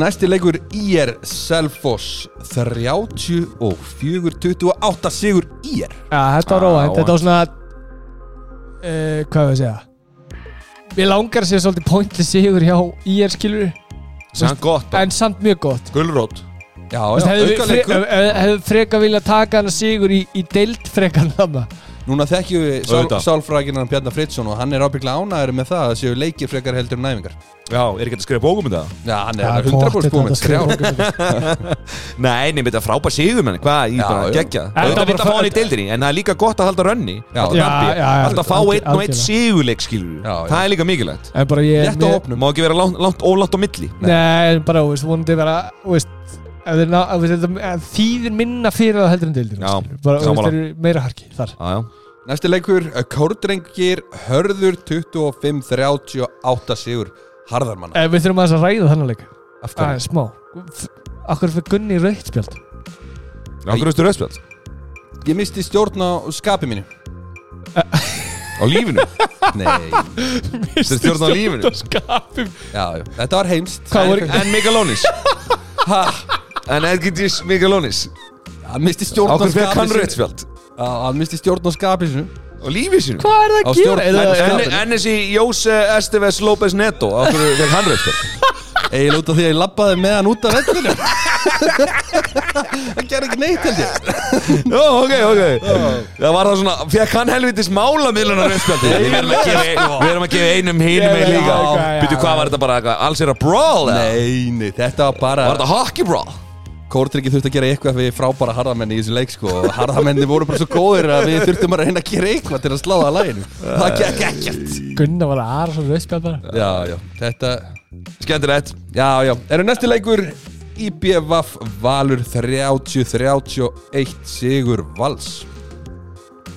Næsti leikur IR Selfoss 34-28 sigur IR ja, þetta var Á, óvænt, óvænt. þetta var svona uh, hvað við að segja við langar að segja svolítið pointli sigur hjá IR skilur við, Sann gott en samt mjög gott Gulrót Já, Þú veist, já, hefðu auka fre, leikur hef, hef freka vilja taka hana sigur í, í deild frekan þarna Núna þekkjum við sál, Auðvitað. sálfrækinan Bjarnar Fritsson og hann er ábygglega ánæður með það að séu leikir frekar heldur en næfingar Já, er ekki hægt að skrifa bókum um það? Já, hann Ja, er 100% búinn gott, þetta með skrjál skrifa bókum. Nei, nefnir þetta frábær sigur menn Hvað, ég Já, bara já. geggja Þetta Þetta bara vita að fá hann í fæ- deildinni En það er líka gott að halda rönni Já. Halda Já, dampi. já, já. Alltaf fá Algjör- einn og einn algjörlega. sigurleik skilur Já, já. Það er líka mikilvægt en bara ég Létt á mér- hópnum Má ekki vera langt, langt ólátt á milli Nei, en bara, þú veist, vonandi vera, þú veist, ef þeir ná, ef þetta ef þýðir minna fyrir það heldur en deildir, Já, bara, þú veist, sammála. þeir eru meira harki þar. Já, já Næsti leikur Kórdrengir Hörður 25-38 sigur Harðarmanna En Eh, við þurfum aðeins að ræða þannig leik, Af hverju? aðeins smá. Akkur fyrir Gunni rautt spjald? Já, hverju veistu rauðspjald? Ég misti stjórn á skapi mínu Á lífinu Nei, Þetta er stjórn á lífinu Skapum. já, já, þetta var heimst Hvað voru- En Mikalónis En Edgidís Mikalónis Hann misti stjórn Á á hverju fekk skapi hann sínu rauðspjald? Já, Hann misti stjórn á skapi sínu Á lífi sinu Hvað er það Á að gera? stjórn- Eða- en- eða- en- En þessi Jóse Esteves López Neto Á hverju fekk hann rauðspjald? Egil út af því að ég labbaði með hann út af reddinu Það gerði ekki neitt held ég Já, ok, ok Það var það svona, fekk hann helvitis málamiðlunar uppspjaldi Við erum að gefa, e- við erum að gefa einum Ég hinum með veit líka það, já, já, Býtu, já. hvað var þetta bara, eitthvað, alls er að brawl eða? Nei, nei, þetta var bara Var þetta hockey brawl? Kórtryggi þurfti að gera eitthvað fyrir frábæra harðamenni í þessu leik sko og harðamenni voru bara svo góðir að við þurftum að reyna að gera eitthvað til að sláða að læginu Það gekk ekkert Gunnar var aðra svo rauðspjall bara Já, já, þetta, Skemmtilegt já, já, eru næsti leikur IBVF Valur 30-31 Sigur Vals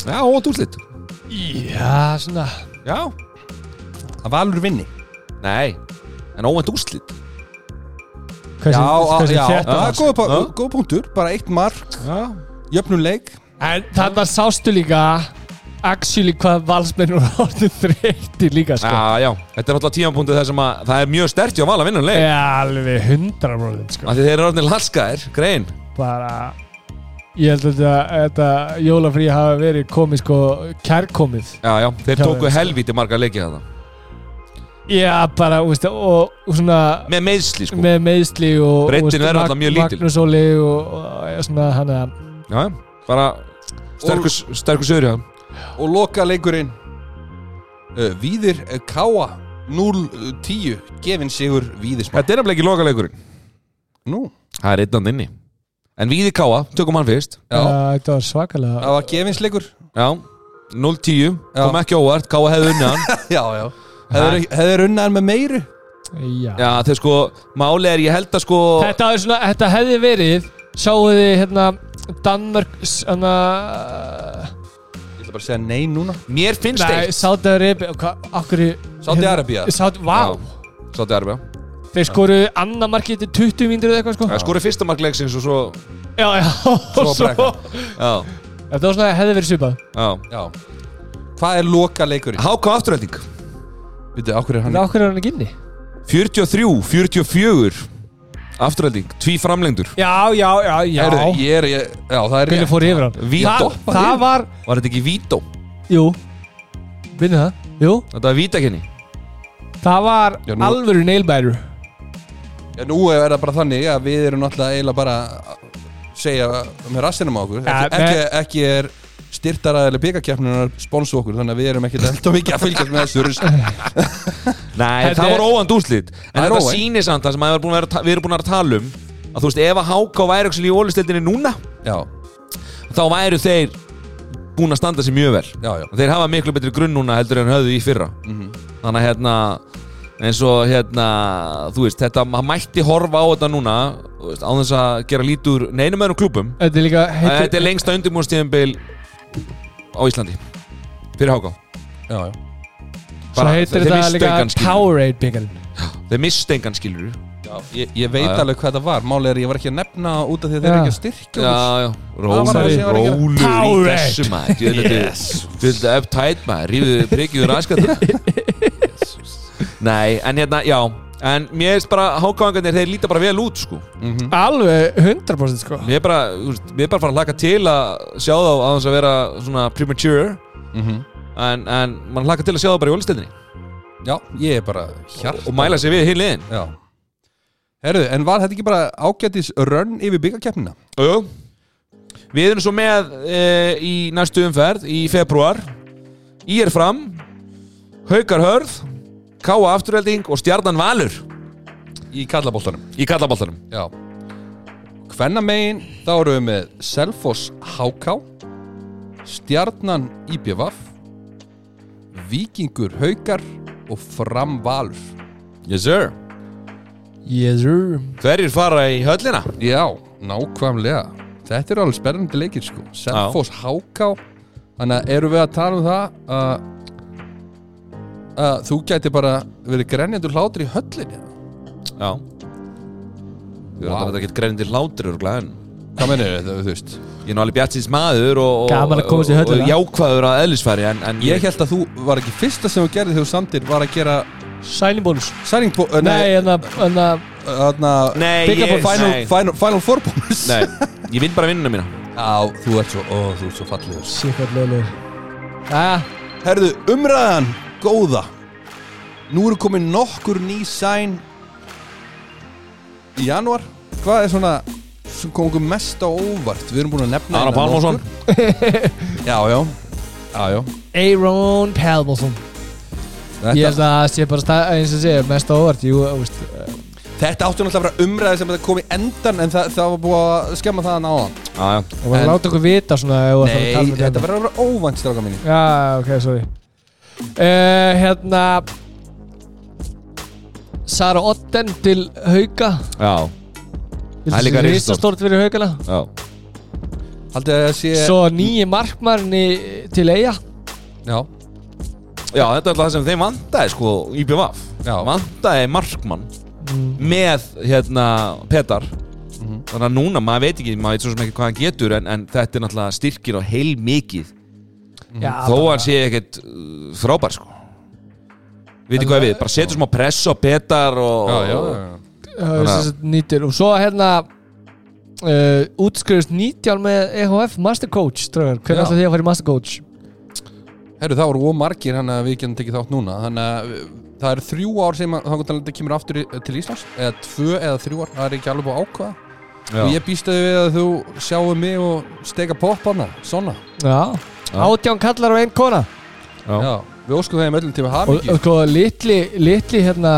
Já, og úrslit Já, svona Já Að Valur vinni Nei En óvænt úrslit Hversu, Já, hversu já, þetta já, var, sko. góð, Já. Ah, góð punktur, bara eitt mark Já Jöfnum leik En þarna sástu líka Actually hvað valsmenn voru orðin þreytti líka sko Já, já Þetta er náttúrulega tímanpunktið þar sem að Það er mjög stert hjá val að vinna um leik Já, alveg hundra bróðin sko Af því þeir eru orðinir laskaðir Grein Bara Ég held að þetta- þetta jólafrí hafa verið komið sko kærkomið Já, já Þeir Já, tóku já. helvíti marga leikið þetta Já, bara, úst, og, og svona Með meðsli sko með meðsli og Breiddin og, veist, verður Mag- náttúrulega mjög lítil. Magnús Óli og, og ja, svona hann að Já, já Bara Sterkur, sterkur sögur hjá þeim. og loka leikurinn uh, Víðir uh, Káa 0-10 gefin sigur Víðismann Þetta er nefnilega ekki loka leikurinn Nú, Það er einn á inni En Víði Káa Tökum hann fyrst já, að þetta var svakalega það var gefinsleikur Já 0-10 Já. Kom ekki á óvart Káa hefði unnið hann Já, já Hefur, hefur unnaðan með meiru Já. Já, þeir sko Máli er ég held að sko Þetta, er svona, þetta hefði verið Sjáu þið hérna Danmörk s- hana, Ég ætla bara að segja nei núna Mér finnst Nei, eitt Sáti Arabi Akkur Saudi Arabia. Sáti, vá Sátti Arbjá Þeir skoruðu annað markið til 20 mínútur eða eitthvað sko Það skorið fyrsta mark leiksins og svo Já, já Svo og brekka. Já, Þetta var svona hefði verið svipað já Já Hvað er loka leikurinn? Háka afturhælding Vitið, okkur er hann En okkur er hann ekki inni 43, 44 Afturhælding, tví framlengdur Já, já, já, já Heyrðu, ég er, ég, já, það er Gunni ég fór yfir hann Vító. Það, það var Var þetta ekki vító? Jú Vinnu það Jú Þetta hérna. er vítakenni Það var Já, nú- alvöru nailbæru Já, Nú er það bara þannig að við erum náttúrulega eiginlega bara að segja með rassinum á okkur Ja, Ekki, ekki, ekki er styrtaræðileg byggakeppnunar sponsu okkur þannig að við erum ekkert enda mikið að fylgjast með þessu rusl. Nei, Þetta það er- var óvand úrslit En Það er þetta óvænt. sýnir samt það sem að við erum búin að vera- við erum búin að vera að tala um Að þú veist, ef að Háka væri ekki í ólistildinni núna Já, Þá væru þeir búin að standa sér mjög vel já, já Og Þeir hafa miklu betri grunn núna heldur en höfðu í fyrra Þannig að hérna eins og hérna, þú veist, þetta maður mætti horfa á þetta núna þú veist, á þess að gera lítur neinum öðrum klubum Þetta er líka Heitir... Þetta er lengsta undirbúinstíðanbil á Íslandi fyrir háká Já, já. Svo heitir þetta líka skilur Powerade byggarinn Þeir mistu engan skilur Ég, ég veit Já, já. alveg hvað það var Málið er að ég var ekki að nefna út af því að þeir eru Já. ekki að styrkja Já, okkur. já, var það sem rólu, ég var að gera. rólu í Powerade. þessu maður Yes Fylgðu upp tæt maður, rífðu prikkiðu raskat Nei, en hérna, já En mér finnst bara, hákáðingarnir, þeir líta bara vel út sko Mhm, Alveg 100% sko Mér er bara, þú veist, mér er bara farin að hlaka til að sjá þá á þess að vera svona premature mhm. en, en mann hlaka til að sjá þá bara í ólistildinni já, ég er bara og, hjart og mæla sér við hinn liðin Já Herðu, en var þetta ekki bara ágætis rönn yfir byggakeppnina? Jú. Við erum svo með e, í næstu umferð í februar Í er fram Haukar hörð Káa afturhelding og stjarnan valur Í kallabóltanum í kallaboltanum Já Hvenna megin, þá erum við með Selfoss HK Stjarnan IBVF Víkingur Haukar og Framvalur Yes sir Yes sir Hverjir fara í höllina? Já, nákvæmlega Þetta eru alveg spennandi leikir sko Selfoss HK Þannig að erum við að tala um það að, að þú gæti bara verið grenjandur hlátur í höllinni Já Við erum Vá. þetta ekki greinandi hlátur örugglega, en Hvað mennir þetta, þú veist? Ég er náli bjartins maður og, og, Gaman að komast í höllina. og jákvæður að eðlisfæri en, en Ég held að þú var ekki fyrsta sem þú gerði þegar þú samtir var að gera Signing bonus særingbó... Nei, hérna- en að en að- Þarna Nei, Pick up ég- a final, nei. final, final four bonus Nei, ég vinn bara vinnuna mína Já, þú ert svo, ó, þú ert svo fallegur Shit, hvað lögur Jæja Herðu, umræðan, góða Nú eru komin nokkur ný sæn Í janúar Hvað er svona sem kom okkur mest á óvart Við erum búin að nefna Ara hérna Pálmarsson nokkur. Já, já, já, já. Aaron Palmelson Þetta, Ég held að það sé bara stað, eins og sé mest á óvart Jú, þú veist eh, Þetta átti náttúrulega að vera umræði sem þetta kom í endan En það, það var búið að skemma það að náðan já, já. Það var að En- láta okkur vita svona ef þú ætlar að tala Nei, um þetta verður að vera óvænt stráka minni Já, ok, sorry uh, Hérna Sara Otten til Hauka já, Það er líka risastórt. Rísastort fyrir Haukana já. Haldið að það sé Svo nýji markmarni til Eyja Já, já þetta er alltaf það sem þeim vantaði sko í BVF já Mhm. vantaði markmann með hérna Petar þannig að núna maður veit ekki maður veit svo sem ekki hvað hann getur en, en þetta er náttúrulega styrkir á heil mikið Já, þó bara- hann sé ekkert uh, frábær sko veitir hvað við, bara setjum smá press á Petar og Já, já, já. Já, sem sagt nýtir og svo hérna uh, útskrifist 19 með E EHF Mastercoach, Já. draugar, hvernig ætla því að fara í Mastercoach Herru, það voru ómargir hann að við getum tekið þátt núna Þannig að uh, það eru þrjú ár sem að- þangað til þetta kemur aftur í- til Íslands Eða tvö eða þrjú ár, það er ekki alveg búið að ákvaða Já. Og ég býstaði við að þú sjáu mig og steka popparna, svona Já, átján kallar og einn kona Já. Já, við óskum þeim öllum til að hafa og og sko litli, litli hérna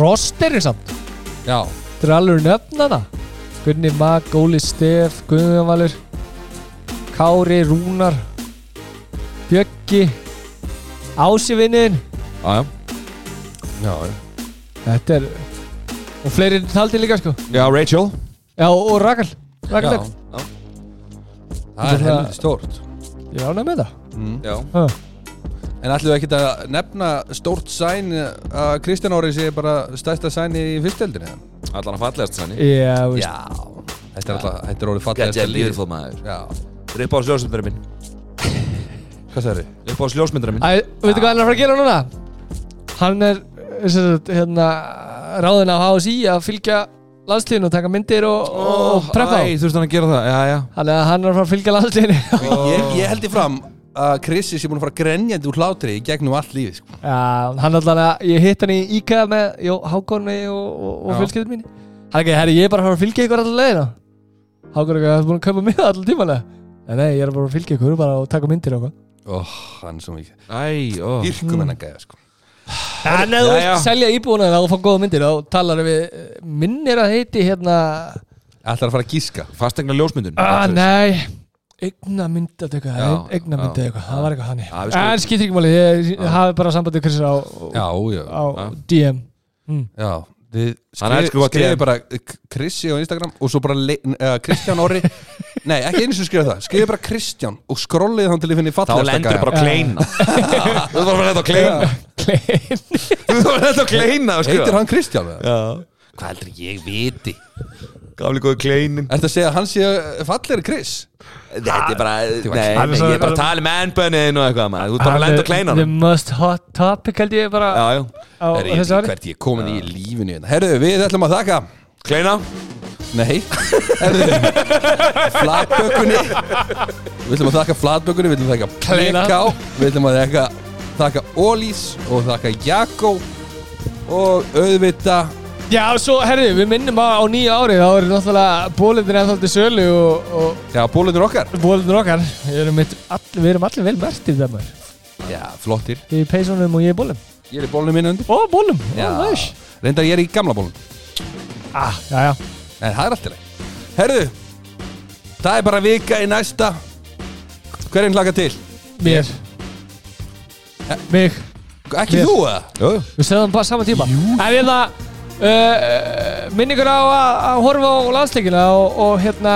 rosterinn samt, Já, þetta er alveg nöfnana Gunni Mag, Góli Stef Guðjónvalur Kári, Rúnar Bjöggi Ásivinnin Já, já. já, Þetta er og fleiri taldi líka sko já, Rachel Já, og Rakal Rakal já. Dögg. Það er Þetta er það- helviti stórt Ég ránaði með það Mhm. já. ha. En ætlum við ekki að nefna stórt sæn að Kristján Árið sé bara stærsta sæni í fyrsteldinni? allan að fallegast sannig Já, veist Já Þetta er alltaf, þetta er orðið fallið Þetta er líðfóð maður Já, Upp á sljósmyndara minn hvað sagði þið? Upp á sljósmyndara minn Æ, veitu hvað hann er að fara að gera núna? Hann er sem sagt, hérna, ráðin af HSI að fylgja landsliðinu og taka myndir og, og preppa á Æ, þurfti hann að gera það Já, já Þannig að hann er að fara að fylgja landsliðinu Ég, ég held ég fram að Kristi sé búin að fara grenjandi úr hlátri í gegnum allt lífi sko. Já, hann allan að ég hitt hann í IKEA með jó, Hákonni og, og, og Já. fjölskyldin mín Hann er ekki, herri, ég er bara að fara að fylgja ykkur allan leiðina Hákonni, það er búin að kaupa mig allan tímanlega Nei, nei, ég er bara að fylgja ykkur bara og taka myndir og hvað Óh, hann er svo mikið Æ, ó Írkum hennan gæða sko En ef þú Jæja. vilt selja íbúinu og fá góða myndir þá talar við eh, minnir að heiti hérna Ætlar að fara að gíska Fastegna ljósmyndun ah, nei eigna mynd að eitthvað Já, eigna mynd að eitthvað það var eitthvað hannig Já, við skulum- en skýtir ekki máli ég ég hafi bara sambandið Chris á, Já, já, á Já. DM já Við Hann elskar skrifum gott skrif ég. bara eh, Kristi á Instagram og svo bara le- uh, Kristján Orri Nei, ekki eins og skrifa það Skrifa bara Kristján og skrollið hann til ég finni Þá fallið lendur bara að kleina Þú þarf bara þetta að kleina Klein Þú þarf þetta að kleina að skrifa. Heitir hann Kristján? eða? Já Hvað heldur ég viti? Gafli góðu kleinin Ertu að segja að hann sé fallegri Kris? Þetta er bara Nei, Hann nei, er svo- ég er bara að tala um með ennbönnin og eitthvað maður. Þú ert bara að lenda að kleina the hann most hot topic held ég bara Já, já á Er ég þessu ári hvert ég er komin í lífinu hérna Herðu, við ætlum að þakka Kleina Nei Herðu Flatbökunni Við ætlum að þakka flatbökunni Við ætlum að þakka Kleina. Pleká Við ætlum að þakka Þakka Ólís Og þakka Jakko Og auðvita já svo herri við minnum á, á nýja ári þá eru náttúrulega bólindir ennþá til sölu og, og Já, bólunir okkall bólindir okkar við erum, mitt, all, við erum allir vel mertið það maður Já, flottir Ég er í peysunum og ég er í bólum Ég er í bólunum minn undir Ó, bólum, Já ó, næs Reyndar ég er í gamla bólun ah, Já, já, Nei, það er allt í lagi Herðu Það er bara vika í næsta Hverjum hlaka til? mér Mig, Ekki Mér. þú eða? Jú við stöðum bara saman tíma Jú En hérna, uh, minningur á að að horfa á landsleikina og, og hérna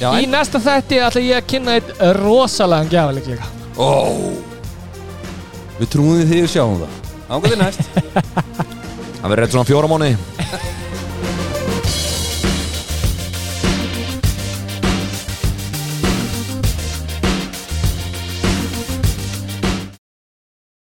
Já, Í næsta þætti ætla ég að kynna eitt rosalega gjafalik líka Ó Við trúum því því við sjáum það Ángur til næst Hann verður rétt svona fjóra mánuði